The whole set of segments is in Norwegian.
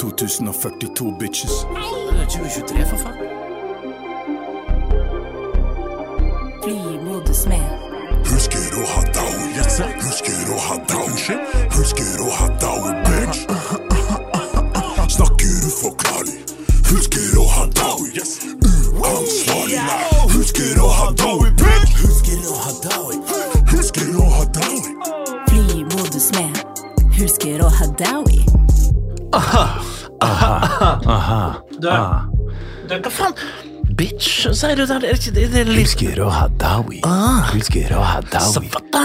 2042, bitches. Det er 2023, for faen. Flymodus med. Husker å ha daue, yes, sir. Husker å ha daue, shit. Husker å ha daue, bitch. Snakker uforklarlig. Husker å ha daue, yes. Uansvarlig, nei. Husker å ha daue, bitch. Husker å ha daue. Husker å ha daue. Flymodus med. Husker å ha Dowie. Du, du, hva faen? Bitch, sier du der? Er ikke det, det er litt Ah. sånn, Husker å ha daui. Husker å ha daui. Savata?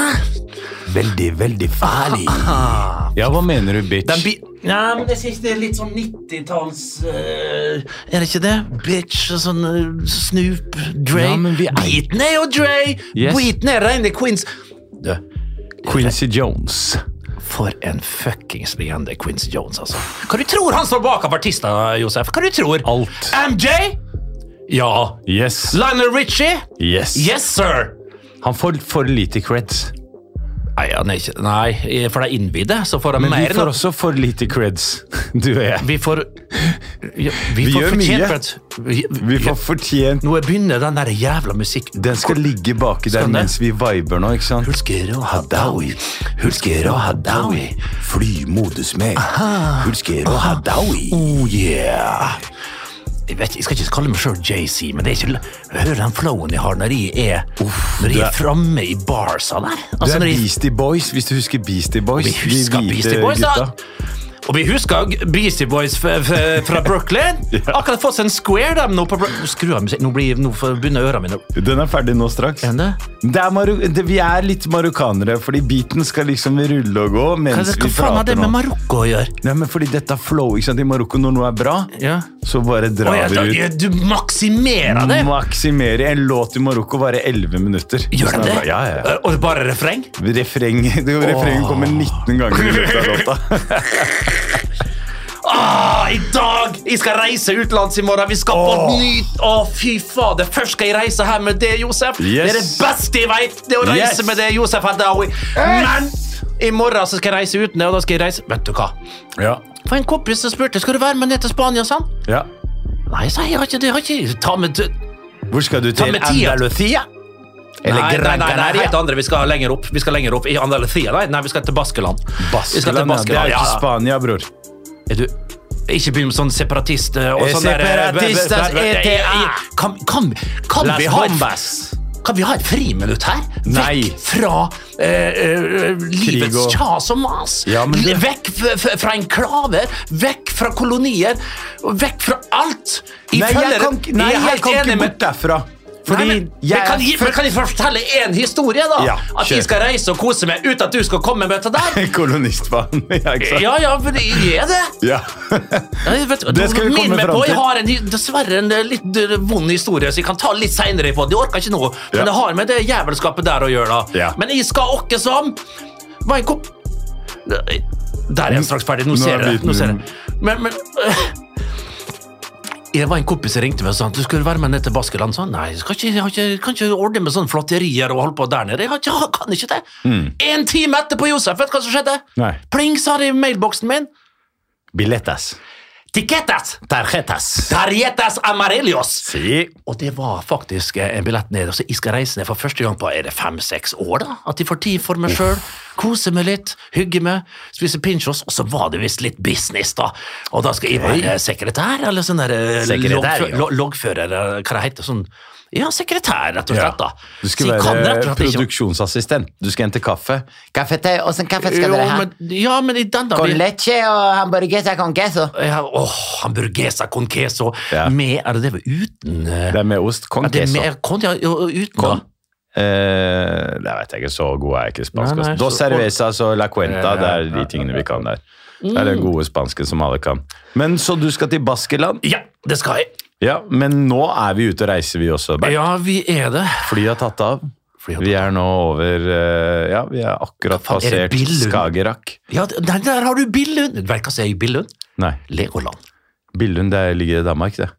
Veldig, veldig farlig. Ah, Ja, hva mener du, Den bitch? bi... Nei, men jeg sier ikke det er litt sånn 90-talls... eh, er det ikke det? Bitch, og sånn eh, Snoop, Dre. Ja, men vi er- Beaten er jo Dre! Yes. Beaten er rene Queens. Du, Quincy Jones. for en fuckings legende Quincy Jones, altså. Hva du tror han står bak av artister, Josef? Hva du tror? Alt. MJ? Ja. Yes. Lionel Richie? Yes. Yes, sir! Han får for lite creds. Nei, han er ikke, nei for de innvidde så får de Men mer. vi får nå. også for lite creds, du og jeg. vi får, ja, vi Vi får gjør fortjent mye. for at- vi, Vi får fortjent Nå begynner den der jævla musikken. Den skal ligge baki der den det? mens vi viber nå, ikke sant? Hulsker og Hadawi, Hulsker og Hadawi. Flymodus med. Hulsker og Hadaoui. Oh yeah! Jeg, vet, jeg skal ikke kalle meg sjøl JC, men det er ikke l- Hør den flowen jeg har når jeg er, når jeg du er er- framme i barsa der. Du Altså, er når jeg, Beastie Boys, hvis du husker Beastie Boys. vi husker de hvite Beastie Boys, da. gutta. Og vi husker G- Beastie Boys f f fra Brooklyn. Akkurat fått seg en square dem nå på Bro- Skru av musikken. Nå, blir- nå får- begynner ørene mine å Den er ferdig nå straks. Er den det? Det er Maru det, vi er litt marokkanere, fordi beaten skal liksom rulle og gå Hva, mens hva vi faen har prater det med nå. Marokko å gjøre? Nei, men fordi dette er flow, ikke sant? I Marokko, når noe er bra, Ja. så bare Å, drar ja, da, vi ja, ut. du maksimerer det! Maksimere en låt i Marokko varer 11 minutter. Gjør Sånn den er det? bra. Ja, ja, ja. Og det er bare refreng? Refreng, refrengen kommer 19 ganger i løpet av låta. Ah, I dag! Jeg skal reise utenlands i morgen. Vi skal på nytt Å, fy fader. Først skal jeg reise her med det, Josef. Det er det Yes. beste jeg vet. Det er å reise Yes. med det, Josef Hadaoui. Men i morgen så skal jeg reise uten det, og da skal jeg reise Vet du hva? Ja. For en kompis som spurte skal du være med ned til Spania. sa han? ja. Nei, sa jeg, jeg har ikke det. Jeg har ikke. Ta med, Hvor skal du ta til? med tida. Andalusia? nei, Eller nei, Gran nei, nei, Canaria? helt andre. Vi skal lenger opp. Vi skal lenger opp. I Andalusia, nei, nei, vi skal til Baskeland. Vi skal til Baskeland, ja. Det Baskeland, er ja. ikke Spania, bror. Er du... Ikke begynn med sånn separatist eh, og Eh, sånn der, eh, separatistas eh, eh, eh, ETA. Kan, kan, kan, vi ha et, kan vi ha et friminutt her? Vekk Nei. fra eh, eh, livets og- kjas og mas. Ja, men det- Vekk f f fra enklaver, vekk fra kolonier, og vekk fra alt. Nei, jeg følger- kan, ikke- nei, Jeg er jeg helt kan enig med- ikke bort derfra. Fordi Nei, men, jeg men, kan, er jeg, men kan jeg få fortelle én historie, da? Ja, at kjør. jeg skal reise og kose meg uten at du skal komme med til der? født kolonistbarn. Ja, ikke sant? Ja, ja, for jeg er det. Ja. Jeg vet, Det skal vi minn komme meg fram på, til. Jeg har en, hy- dessverre en eh, litt eh, vond historie, så jeg kan ta litt seinere. Det orker jeg ikke nå. Men Ja. det har med det jævelskapet der å gjøre. da. Ja. Men jeg skal åkke som Var en kopp Der er jeg straks ferdig. Nå Nå ser jeg er det. biten Nå ser jeg. det. Men, eh, men jeg var en kompis som ringte meg og sa at du skulle være med ned til Baskeland. Sånn, nei, jeg, skal ikke, jeg har ikke, jeg kan ikke ordne med sånne flotterier og holde på der nede. Jeg har ikke, jeg kan ikke det. En time etterpå, Josef, vet du hva som skjedde? Mm. Nei. Pling, sa det i mailboksen min. Billetas. Tiketas! Tarjetas. Tarjetas Amarelios! Si. Og det var faktisk eh, en billett ned. Altså, jeg skal reise ned for første gang på er det fem-seks år. da, At jeg får tid for meg sjøl. Kose meg litt, hygge meg, spise pinchos. Og så var det visst litt business, da. Og da skal jeg være eh, sekretær, eller sånn der eh, Sekretær, loggfø- ja. lo- loggfører, eller hva det heter. sånn, Ja, sekretær, rett og slett. da. Du skal Så jeg kan rett være og slett ikke- produksjonsassistent. Du skal hente kaffe. Kaffe til, Åssen kaffe Jo, men- Ja, men i den da... vi- leche og hamburger con queso. Ja, Åh, hamburgesa con queso. Ja. Med, er det det var uten eh, Det er med ost. Con Ja, det er queso. mer kon, ja, jo, uten Con. da. Eh, det vet jeg ikke, så god er jeg ikke i spansk. Nei, nei, ass. Dos så- cervezas og la cuenta, Ja, det ja, Mm. er de tingene vi kan der. Det er den gode spansken som alle kan. Men Så du skal til Baskeland? Ja, det skal jeg. Ja, men nå er vi ute og reiser, vi også. Bernt. Ja, vi er det. Flyet har tatt av. Flyet har Vi er nå over eh, Ja, vi er akkurat faen, er det passert Billund? Skagerrak. Ja, der, der har du Billund. Du vet hva som er i Billund? Nei, Legoland. Billund det ligger i Danmark, det.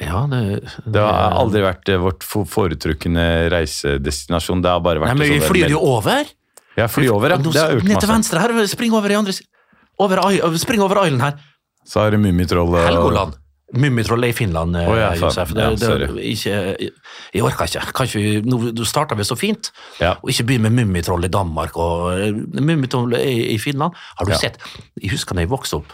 Ja, det, Det har aldri vært eh, vårt fo- foretrukne reisedestinasjon. Det har bare vært Nei, men en vi sånn der- flyr jo over. Ja, fly over, ja. Nå- Det har jeg gjort Ned til masse. venstre her. Spring over i andre si- over, i- Spring over island her. Så har du Mummitrollet. og- Helgoland. Mummitrollet i Finland, eh, Å, ja, faen. Josef. Det, Ja, det, sorry. ikke, jeg- jeg orker ikke. Kanskje, vi- nå, du starta vel så fint, Ja. og ikke begynn med Mummitroll i Danmark og eh, Mummitroll i, i Finland. Har du sett? Jeg husker da jeg vokste opp.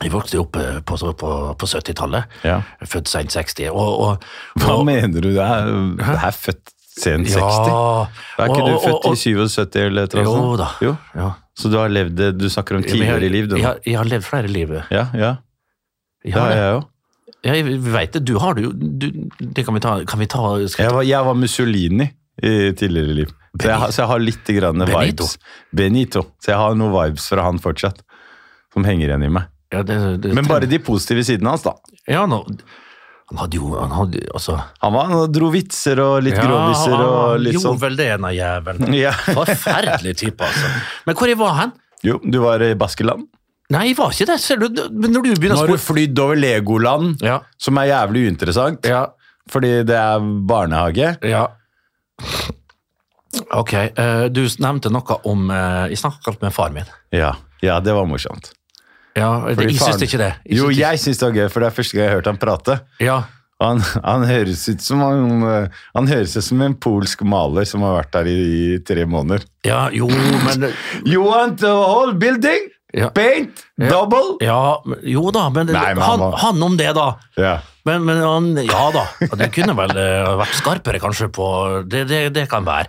Jeg vokste jo opp eh, på, på, på 70-tallet, Ja. født sent 60. Og, og, Hva og, mener du? Det er, det er født sen 60? Ja. Er ikke Og- du og- født og- i 77 eller et eller annet? Jo sånt? da. Jo. Ja. Så du har levd det- Du snakker om Men jeg har- tidligere i liv, du. Jeg, nå. har- jeg har levd flere liv. Jeg Ja, ja. Det har har det. jeg jo. Ja, jeg vet det. Du har det jo. Du- Det kan vi ta. Kan vi ta skal Jeg var, jeg var Mussolini i tidligere liv. Så jeg, har- så jeg har litt grann Benito. vibes. Benito. Så jeg har noen vibes fra han fortsatt, som henger igjen i meg. ja, det, det, Men bare de positive sidene hans, da. Ja, nå, han hadde jo han hadde, altså, Han, var, han dro vitser og litt Ja, gråviser og litt gjorde sånn. vel det, den jævelen. Ja. Forferdelig type, altså. Men hvor jeg var hen? Jo, du var i Baskeland. Nei, jeg var ikke det. Ser du, men når du Nå begynner å har du spørre flydd over Legoland, Ja, som er jævlig uinteressant, ja, fordi det er barnehage. ja. Ok, eh, du nevnte noe om eh, Jeg snakket alt med far min. Ja, ja det var morsomt. Ja, det, Fordi jeg faren- syns ikke det. Jeg Jo, syns ikke- jeg syns det var gøy, for det er første gang jeg har hørt han prate. ja. Og Han, han høres ut som han, eh, han høres ut som en polsk maler som har vært der i, i tre måneder. ja, jo, men You want the whole building? Ja. Paint? Double? Ja, men- jo da, men Nei, men han, han var- han om det, da. Ja. Men, men han, ja da, det kunne vel eh, vært skarpere kanskje på Det, det, det kan være.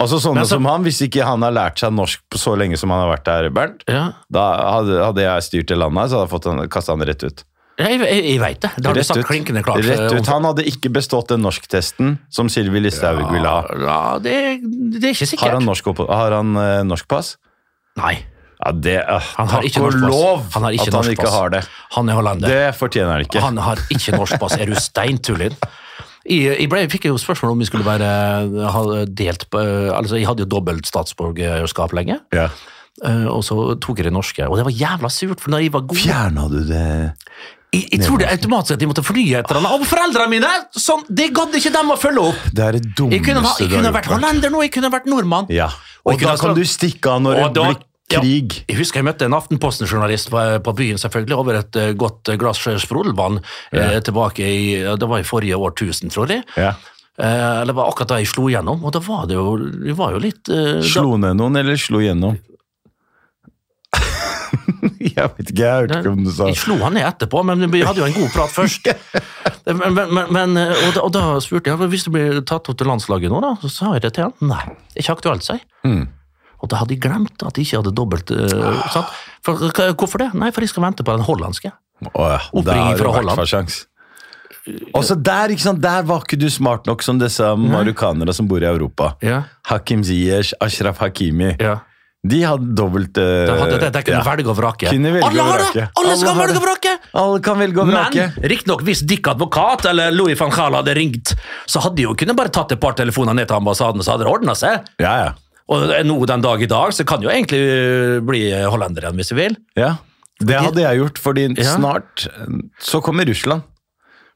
Altså sånne Men så- som han, Hvis ikke han har lært seg norsk på så lenge som han har vært der, Bernt, Ja. da hadde, hadde jeg styrt det landet, her, så hadde jeg kasta han rett ut. Jeg, jeg, jeg veit det. Det har du sagt klinkende klart. eh, Rett ut. Han hadde ikke bestått den norsktesten som Sylvi Listhaug ville ha. Ja, det, det er ikke sikkert. Har han norsk, opp- har han, eh, norsk pass? Nei. Ja, det, øh, Han har takk ikke og norsk pass. lov Han har ikke at han norsk ikke pass. har det. Han er hollender. Det fortjener han ikke. Han har ikke norsk pass. Er du steintullin? Jeg, jeg, ble, jeg fikk jo spørsmål om jeg skulle være ha delt på Altså, jeg hadde jo dobbelt statsborgerskap lenge, Ja. eh, og så tok jeg det norske. Og det var jævla surt, for når jeg var god Fjerna du det Jeg, jeg tror det er automatisk at de måtte fornye et eller annet. Og foreldrene mine! Sånn, det gadd ikke dem å følge opp. Det er det dummeste Jeg kunne, ha, jeg du har kunne gjort, vært Bernt. hollender nå, jeg kunne vært nordmann. Ja. Og Og, jeg kunne da ha kan slått- du stikke av når Og det da- blir krig. Jeg husker jeg møtte en Aftenposten-journalist på, på byen, selvfølgelig, over et eh, godt glass sprudlevann eh, tilbake i ja, Det var i forrige årtusen, tror jeg. Ja. Eh, eller var akkurat da jeg slo gjennom, og da var det jo, det var jo litt eh, Slo ned noen, eller slo gjennom? jeg vet ikke, jeg hørte ikke om du da, sa Jeg slo han ned etterpå, men vi hadde jo en god prat først. Men, men, men, men, eh, og, da, og da spurte jeg hvis du blir tatt opp til landslaget nå, da, så sa jeg det til han. Nei, det er ikke aktuelt, sier jeg. Hm. Og da hadde jeg glemt at jeg ikke hadde dobbelt. Ah. eh, sant? For, hva- hvorfor det? Nei, for jeg skal vente på den hollandske. Åh, ja, der Oppringning fra har du i hvert Holland. fall sjans. Også der, ikke sant, der var ikke du smart nok som disse marokkanere som bor i Europa. Ja. Hakim Ziyech, Ashraf Hakimi. Ja. De hadde dobbelt eh, Da hadde det, det kunne ja. velge og vrake. Kunne velge Alle og har det! vrake. Alle skal Alle har velge og vrake! Alle kan velge og vrake. Men riktignok, hvis Dick advokat eller Louis van Gaal hadde ringt, så hadde de jo kunnet bare tatt et par telefoner ned til ambassaden, så hadde det ordna seg. Ja, ja. Og nå den dag i dag, så kan jo egentlig øh, bli hollender igjen, hvis du vil. ja. Det hadde jeg gjort, fordi Ja. snart så kommer Russland.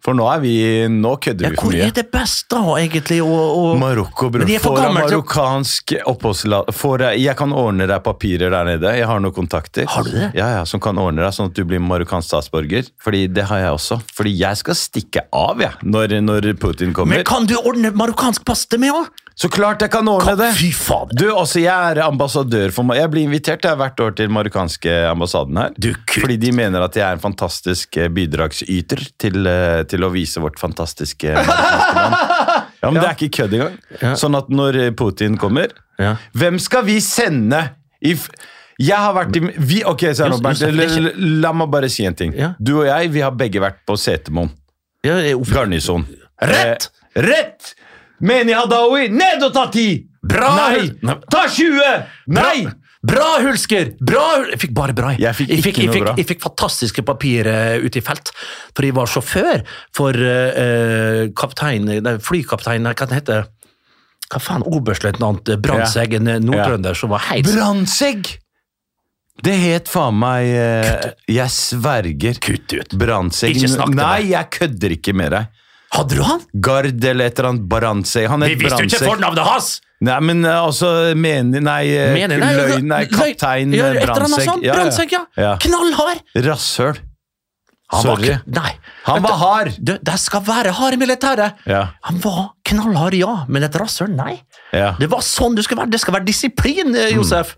For nå er vi Nå kødder Ja, vi hvor for mye. er det best da, egentlig, å, å Marokko, bror. Men de er for Får jeg gammel til å- marokkansk oppholdstillatelse får jeg, jeg kan ordne deg papirer der nede. Jeg har noen kontakter Har du det? Ja, ja, som kan ordne deg sånn at du blir marokkansk statsborger. Fordi det har jeg også. Fordi jeg skal stikke av, jeg, når, når Putin kommer. Men kan du ordne marokkansk pass til meg òg? Så klart jeg kan ordne det! Fy fader. Du, også jeg er ambassadør for Ma- Jeg blir invitert jeg, hvert år til den marokkanske ambassaden her. Du kutt. Fordi de mener at jeg er en fantastisk eh, bidragsyter til, eh, til å vise vårt fantastiske marokkanske land. Ja, men det er ikke kødd engang. Sånn at når eh, Putin kommer Ja. Hvem skal vi sende i f- jeg har vært i vi, Ok, så er det Josef, Bernt, Josef, det er l- l- la meg bare si en ting. Ja. Du og jeg vi har begge vært på Setermoen. Ja, jeg opp- Garnison. Rett! Eh, rett! Meni Hadaoui, ned og ta ti! Bra! Nei! Nei. Ta 20! Nei! Bra, Hulsker! Bra, Hul- jeg fikk bare bra. Jeg fikk ikke jeg noe fikk, bra. Jeg fikk fantastiske papirer eh, ute i felt, for jeg var sjåfør for eh, eh, kaptein, nei, flykaptein, nei, hva det heter Hva faen, oberstløytnant eh, Brandtzæg, en nordtrønder som var helt Brandsegg! Det het faen meg eh, Jeg sverger. Kutt ut. Brandsegg. Ikke snakk til Nei, jeg kødder ikke med deg. Hadde du han? Gard eller et eller annet Brandsegg. Han Vi het visste jo ikke Brandsegg. fornavnet hans! Nei, men eh, altså Meni Nei, eh, Mener jeg, altså, løgn Nei, løgn- kaptein ja, eh, et eller annet Brandsegg. sånt. Brandsegg, ja. Ja. Knallhard! Rasshøl. Han var Sorry. ikke- Nei. Han Vet var du- hard. Du, de skal være hard i militæret. Ja. Han var knallhard, ja, men et rasshøl, nei. Ja. Det var sånn du skal være. Det skal være disiplin, eh, Josef.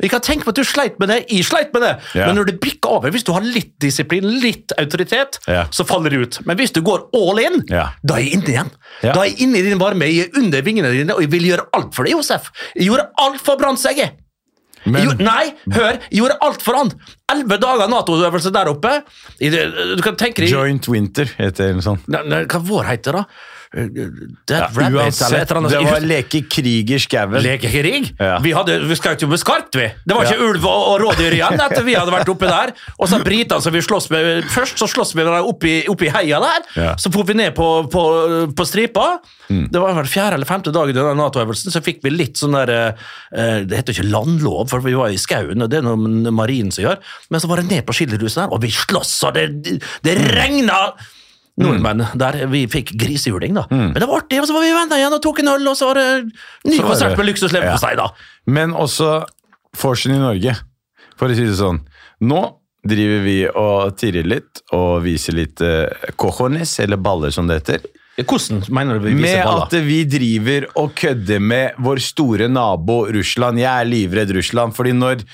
Jeg kan tenke på at du sleit med det, jeg sleit med det, Mm, Ja. men når det bikker over, hvis du har litt disiplin, litt autoritet, Ja. så faller det ut. Men hvis du går all in, Ja. da er jeg inne igjen. Ja. Da er jeg inne i din varme, jeg er under vingene dine, og jeg vil gjøre alt for deg, Josef. Jeg gjorde alt for Brandtzæg. Men- Jo, nei, hør! Jeg gjorde alt for han! Elleve dager Nato-øvelse der oppe. I det, du kan tenke deg Joint Winter heter det noe sånt. Nei, nei, Hva vår heter det, da? Eh, Dead Ja, Rabbit eller uansett, et eller annet? det var leke krig i skauen. Lekekrig? Ja. Vi, hadde, vi skjøt jo med skarpt, vi. Det var ikke Ja. ulv og, og rådyr igjen etter vi hadde vært oppe der. Og så britene som vi sloss med Først så sloss vi med dem oppi, oppi heia der. Ja. Mm. Så for vi ned på, på, på stripa. Det var vel fjerde eller femte dagen i denne Nato-øvelsen, så fikk vi litt sånn der eh, Det heter ikke landlov, for vi var i skauen, og det er noe marinen som gjør. Men så var det ned på skilderhuset der, og vi sloss, og det, det regna! Mm. Nordmenn der vi fikk grisehjuling, da. Men det var artig, og så var vi venner igjen og tok en øl, og så var det ny Så var konsert det- med luksusleverpostei, da. Men også vorsen i Norge, for å si det sånn. Nå driver vi og tirrer litt og viser litt eh, cojones, eller baller som det heter. Hvordan mener du vi Med viser at baller? vi driver og kødder med vår store nabo Russland. Jeg er livredd Russland, fordi når,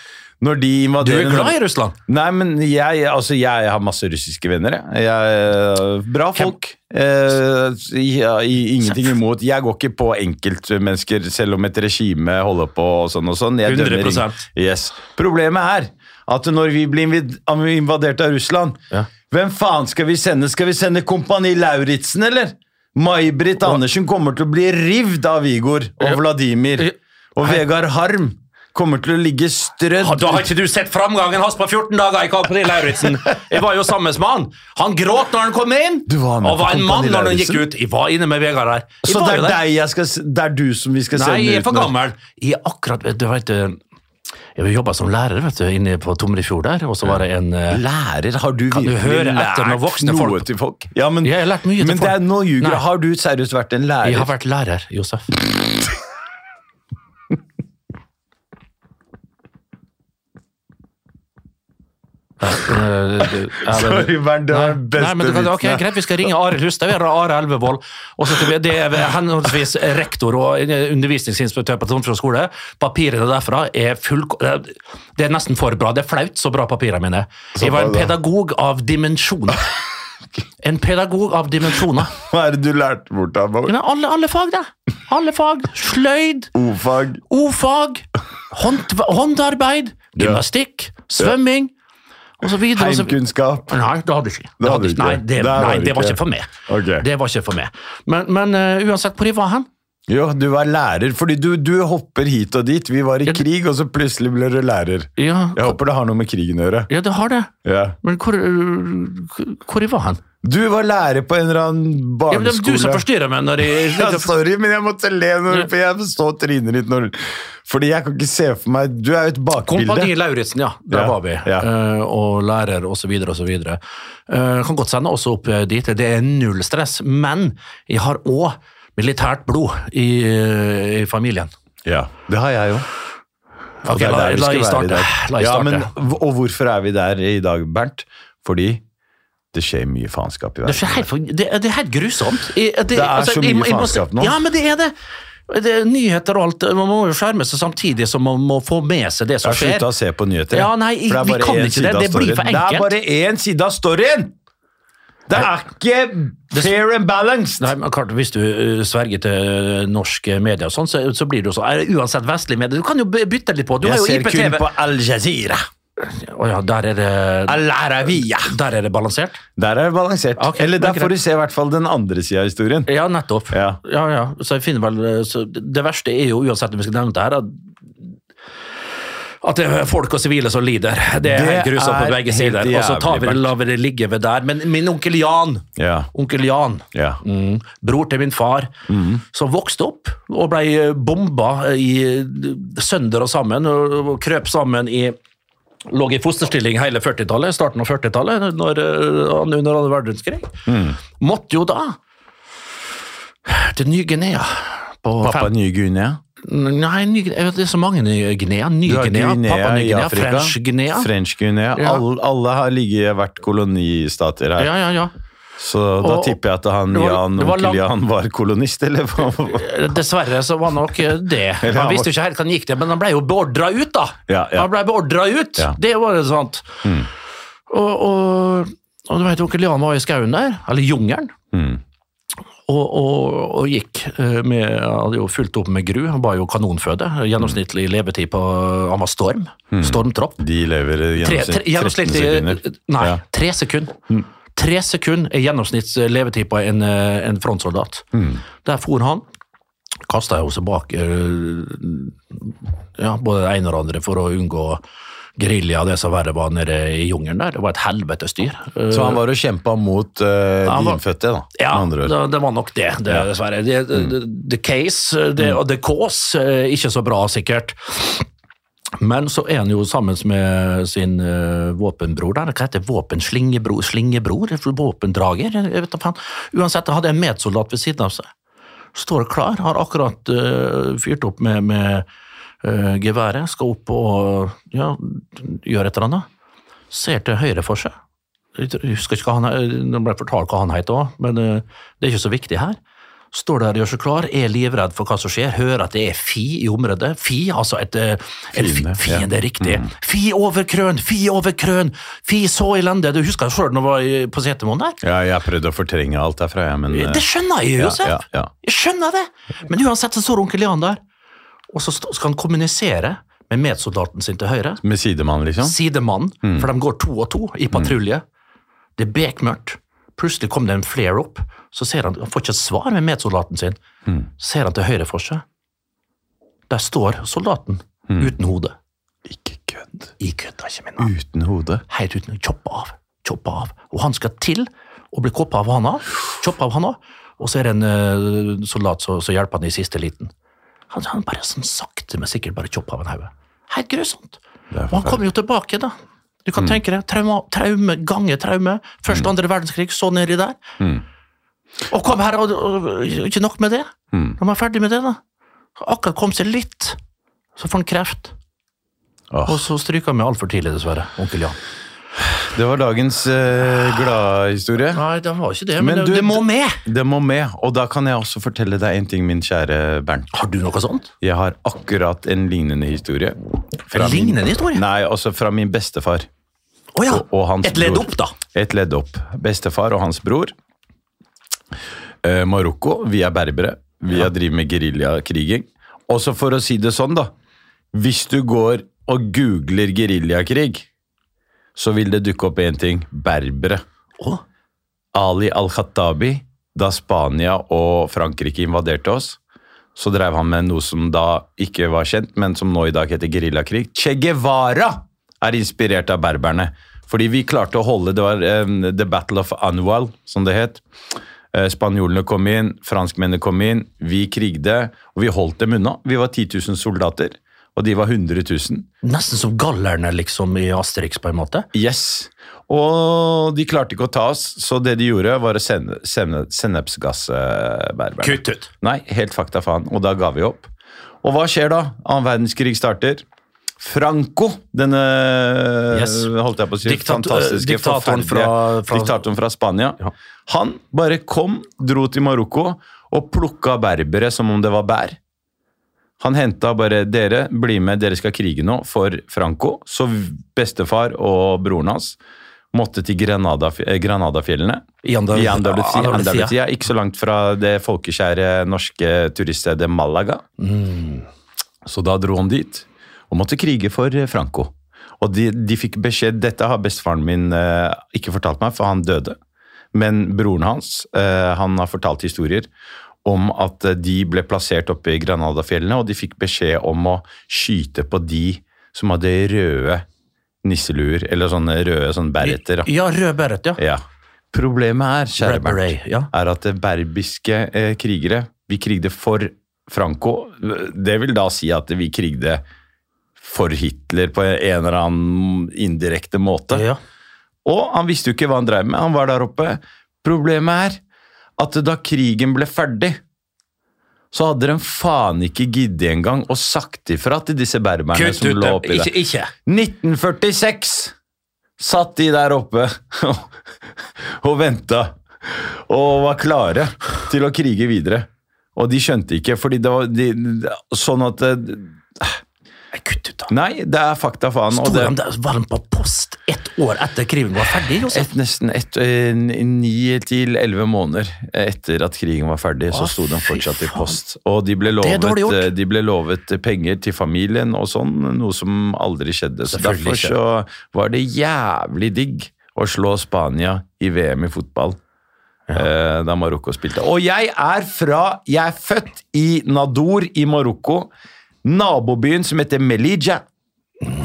når de Du invaderer er glad i Norge- Russland? Nei, men jeg, altså, jeg har masse russiske venner. Jeg. Jeg, bra folk. Eh, ja, i- ingenting imot. Jeg går ikke på enkeltmennesker, selv om et regime holder på og sånn og sånn. Jeg dømmer 100%. ingen- yes. Problemet er at når vi blir invid- invadert av Russland, Ja. hvem faen skal vi sende? Skal vi sende Kompani Lauritzen, eller? May-Britt Andersen kommer til å bli rivd av Vigor og Vladimir. Og Vegard Harm kommer til å ligge strødd Ha, Da har ikke du sett framgangen hans på 14 dager i Kompani Lauritzen! Jeg var jo sammen med han. Han gråt når han kom inn, Du var med og på var en Kompani mann når han Lauritzen? gikk ut. Jeg var inne med Vegard der. Jeg Så var det jo er, der. deg jeg skal, s- det er du som vi skal sende Nei, jeg er ut for nå? gammel. Jeg er akkurat Du vet eh, Jeg jobba som lærer vet du, inne på Tomrefjord der, og så var det en eh, Lærer, har du Kan du virkelig høre etter når voksne noe folk- til folk? Ja, men, Jeg har lært mye til men det er folk. nå ljuger. Nei. jeg. Har du seriøst vært en lærer? Jeg har vært lærer, Josef. Sorry, Sorry, Bernt, det var den beste Nei, men du kan, ok, vitsen. Greit, vi skal ringe Arild Hustad. Vi har Are Elvevold. Og så skal vi, det er henholdsvis rektor og undervisningsinspektør på Tromsø skole. Papirene derfra er full... Det er nesten for bra. Det er flaut så bra papirene mine er. Jeg var en bra, da. pedagog av dimensjoner. En pedagog av dimensjoner. Hva er det du lærte bort av Ja, meg? men Alle, alle fag, da. Alle fag. Sløyd, Ofag. O-fag, håndtv- håndarbeid, gymnastikk, svømming, og så videre. og så- Heimkunnskap. Nei, det hadde jeg ikke. Det hadde hadde du ikke. Nei, ikke. det, Der var nei, du det var ikke. ikke for meg. Ok. Det var ikke for meg. Men, men eh, uansett hvor jeg var hen Jo, du var lærer, fordi du, du hopper hit og dit. Vi var i krig, og så plutselig ble du lærer. ja, Jeg håper det har noe med krigen å gjøre. ja, det har det. Ja. Men hvor, eh, hvor jeg var hen? Du var lærer på en eller annen Ja, men det er du som barneskole. forstyrrer meg når Ja, jeg sorry, men jeg måtte le når for jeg forstår trynet ditt når Fordi jeg kan ikke se for meg Du er jo et bakbilde. Kompani Lauritzen, ja. Der Ja, var vi. ja. Eh, og lærer og så videre og så videre. Eh, kan godt sende oss opp eh, dit. Det er null stress. Men jeg har òg militært blod i, eh, i familien. Ja, det har jeg jo. Og Ok, det er la, der vi la skal jeg være i starte. dag. La jeg ja, starte. men, hv- og hvorfor er vi der i dag, Bernt? Fordi det skjer mye faenskap Det i er, verden. så helt, for- det, er- det er helt grusomt. I- altså, Det er så mye jeg må- jeg må- faenskap nå. Ja, men det er det. Det er nyheter og alt. Man må jo skjerme seg samtidig som man må få med seg det som Jeg har skjer. slutta å se på nyheter. Ja, nei, for det er vi bare kan én ikke det. side av Det blir storyen. for Det enkelt. er bare én side av storyen! Det er ikke fair and balanced! Nei, men klart, Hvis du eh, sverger til eh, norske medier, og sånn, så, så blir det jo sånn. Er det Uansett vestlige medier. Du kan jo by- bytte litt på. Du har jeg jo ser kun IPTV. på Al Jazeera. Å ja, der er det, Al Arabiya. der er det balansert? Der er det balansert. Ok, Eller det er der får greit. du se i hvert fall den andre sida av historien. Ja, nettopp. Ja. ja, ja. Så jeg finner vel, eh, så det det verste er jo, uansett om vi skal nevne det her, at, at det er folk og sivile som lider. Det er Det helt grusomt er på begge helt sider. Og så tar vi jævlig, det, lar vi det ligge ved der. Men min onkel Jan, Ja. onkel Jan, Ja. mm, bror til min far, Mhm. som vokste opp og ble eh, bomba i eh, sønder og sammen, og og krøp sammen i Lå i fosterstilling hele 40-tallet, starten av 40-tallet, når, eh, han under andre verdenskrig. Mhm. Måtte jo da til Ny-Guinea på Pappa fem, Ny-Guinea. Nei, ny, jeg vet, det er så mange nye Guinea. Ny Du har Guinea, Papua i Ny-Guinea, Afrika. French Guinea. French Guinea. Ja. Alle, alle har ligget, vært kolonistater her. Ja, ja, ja. Så da Og- tipper jeg at han det var- Jan, det var onkel lang- Jan var kolonist, eller hva? Dessverre så var nok det. Han visste jo ikke helt hva han gikk til, men han ble jo beordra ut, da. Ja, ja. Han ble beordra ut! Ja. Mm. Det var jo sant. Og, og, og du vet, onkel Jan var i skauen der, eller jungelen, Mm. og, og, og gikk eh, med Hadde jo fulgt opp med gru, han var jo kanonføde. Gjennomsnittlig levetid på Han var storm. Mm. Stormtropp. De lever i Tre, tre, gjennomsnitt 13 gjennomsnittlig sekunder. Nei, Ja. Mm. tre sekunder. Tre sekunder er gjennomsnitts levetid på en, eh, en frontsoldat. Mm. Der for han. Kasta jo seg bak eh, ja, både det ene og det andre for å unngå gerilja og det som verre var nede i jungelen der. Det var et helvetes dyr. Eh, Så han var og kjempa mot eh, Han de var- innfødte, da. med ja, andre ord. Mm. det, det var nok det, det dessverre. Det- det- The case det, og the cause, eh, ikke så bra sikkert. Men så er han jo sammen med sin eh, våpenbror der. Hva heter det? Våpenslingebror? Slingebror? Våpendrager? Jeg vet da faen. Uansett, han hadde en medsoldat ved siden av seg. Står klar, har akkurat eh, fyrt opp med, med eh, geværet, skal opp og ja, gjøre et eller annet. Ser til høyre for seg. Jeg tror- jeg husker ikke hva han Det ble fortalt hva han het òg, men eh, det er ikke så viktig her. Står der og gjør seg klar, er livredd for hva som skjer, hører at det er fi i området. Fi, altså et, eh, en Fiende, fiende, ja. Mm. fiende riktig. Fi over krøn, fi over krøn, fi så elendig. Du husker sjøl når du var i- på Setermoen der? Ja, jeg prøvde å fortrenge alt derfra, jeg, men eh, Det skjønner jeg, ja, Josef. ja, ja. Jeg skjønner det! Men uansett så står onkel Jan der, og så st- skal han kommunisere med medsoldaten sin til høyre, Med sidemann, liksom? sidemannen, for de går to og to i patrulje. Det er bekmørkt. Plutselig kom det en flare opp, så ser han, han får ikke et svar med medsoldaten sin. Ser han til høyre for seg. Der står soldaten, uten hode. Ikke kødd. I kødda ikke min mann. Uten hode. Helt uten å choppe av. Choppe av. Og han skal til å bli koppa av handa. Choppe av handa. Og så er det en eh, soldat som som hjelper han i siste liten. Han, han bare sånn sakte, men sikkert bare chopper av en hode. Helt grusomt. Og han Det er forferdelig. Mm. kommer jo tilbake, da. Du kan tenke deg. Traume, traume gange traume. Første og andre verdenskrig, så nedi der. Mm. Og kom her, og, og, og ikke nok med det. Mm. Når man er ferdig med det, da. Akkurat kom seg litt, så får han kreft. Åh. Og så stryker han med altfor tidlig, dessverre. Onkel Jan. Det var dagens eh, gladhistorie. Nei, det var ikke det, men, Men det, du- det må med! Det må med, og da kan jeg også fortelle deg en ting, min kjære Bernt. Har du noe sånt? Jeg har akkurat en lignende historie. En lignende historie? Min, nei, altså fra min bestefar. Å ja. Og- og hans Et ledd bror. opp, da. Et ledd opp. Bestefar og hans bror. Eh, Marokko. Vi er berbere. Vi har driver med geriljakriging. Også for å si det sånn, da. Hvis du går og googler geriljakrig, så vil det dukke opp én ting. Berbere. Å, Ali al-Khattabi, da Spania og Frankrike invaderte oss, så drev han med noe som da ikke var kjent, men som nå i dag heter geriljakrig. Che Guevara er inspirert av berberne. Fordi vi klarte å holde Det var eh, The Battle of Anwal, som det het. Eh, Spanjolene kom inn, franskmennene kom inn, vi krigde, og vi holdt dem unna. Vi var 10 000 soldater, og de var 100 000. nesten som gallerne liksom i Asterix, på en måte. Yes. Og de klarte ikke å ta oss, så det de gjorde, var å sende, sende sennepsgassbærberne. Kutt ut! Nei, helt fakta faen. Og da ga vi opp. Og hva skjer da? Annen verdenskrig starter. Franco, denne Yes. holdt jeg på å si, Diktat- fantastiske, eh, diktatoren forferdelige fra- fra- diktatoren fra Spania, han bare kom, dro til Marokko og plukka berbere som om det var bær. Han henta bare 'dere, bli med, dere skal krige nå' for Franco. Så bestefar og broren hans måtte til Granada, eh, Granadafjellene. I Andal- I Andalusia, Andalusia. Andalusia, ikke så langt fra det folkekjære norske turiststedet Malaga. mm. Så da dro han dit, og måtte krige for eh, Franco. Og de, de fikk beskjed Dette har bestefaren min eh, ikke fortalt meg, for han døde. Men broren hans eh, han har fortalt historier om at eh, de ble plassert oppe i Granadafjellene, og de fikk beskjed om å skyte på de som hadde røde nisseluer, eller sånne røde sånn beretter. da. Ja, rød beret, ja. Ja. Problemet er, kjære Red Bernt, beret, ja. er at det berbiske eh, krigere Vi krigde for Franco. Det vil da si at vi krigde for Hitler på en eller annen indirekte måte. ja. Og han visste jo ikke hva han drev med. Han var der oppe. Problemet er at da krigen ble ferdig, så hadde de faen ikke giddet engang og sagt ifra til disse berberne Kutt som ut lå dem. oppi Ikke, der. ikke. 1946 satt de der oppe og, og venta og var klare til å krige videre. Og de skjønte ikke, fordi det var de, sånn at eh, Nei, kutt ut, da. Nei, det er fakta faen. og Sto det, de der varm på post ett år etter krigen var ferdig? Josef? Et, nesten et, eh, ni til elleve måneder etter at krigen var ferdig, så Å, sto de fy fortsatt i faen. post. Og de ble, Det er lovet, dårlig gjort. eh, de ble lovet penger til familien og sånn, noe som aldri skjedde. Så Selvfølgelig derfor så var det jævlig digg å slå Spania i VM i fotball. eh, Da Marokko spilte. Og jeg er fra Jeg er født i Nador i Marokko. Nabobyen som heter Melija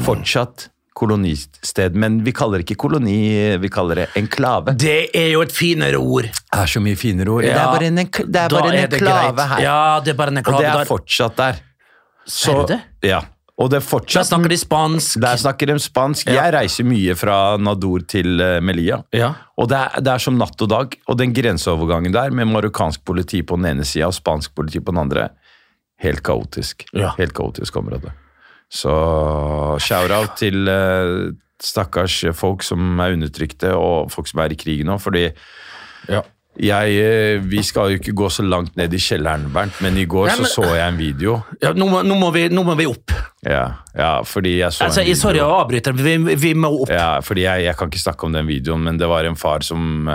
fortsatt kolonisted, men vi kaller det ikke koloni, vi kaller det enklave. Det er jo et finere ord. Det er så mye finere ord. det Ja, er bare en, enkl det er Da bare en er det enklave greit. her. Ja, det er bare en og enklave det er der. fortsatt der. Ser du det? Ja. Og det er Der fortsatt snakker de spansk. Der snakker de spansk. Jeg reiser mye fra Nador til eh, Melilla. Ja. Og det er, det er som natt og dag. Og den grenseovergangen der, med marokkansk politi på den ene sida og spansk politi på den andre, helt kaotisk. Ja. Helt kaotisk område. Så shout-out til eh, stakkars folk som er undertrykte, og folk som er i krig nå, fordi jeg, eh, vi skal jo ikke gå så langt ned i kjelleren, Bernt, men i går Nei, men- så så jeg en video. Ja, nå, må, nå, må vi, nå må vi opp. Ja, ja fordi jeg så Altså, en video. jeg- sorry å avbryte, men vi, vi må opp. Ja, fordi jeg, jeg kan ikke snakke om den videoen, men det var en far som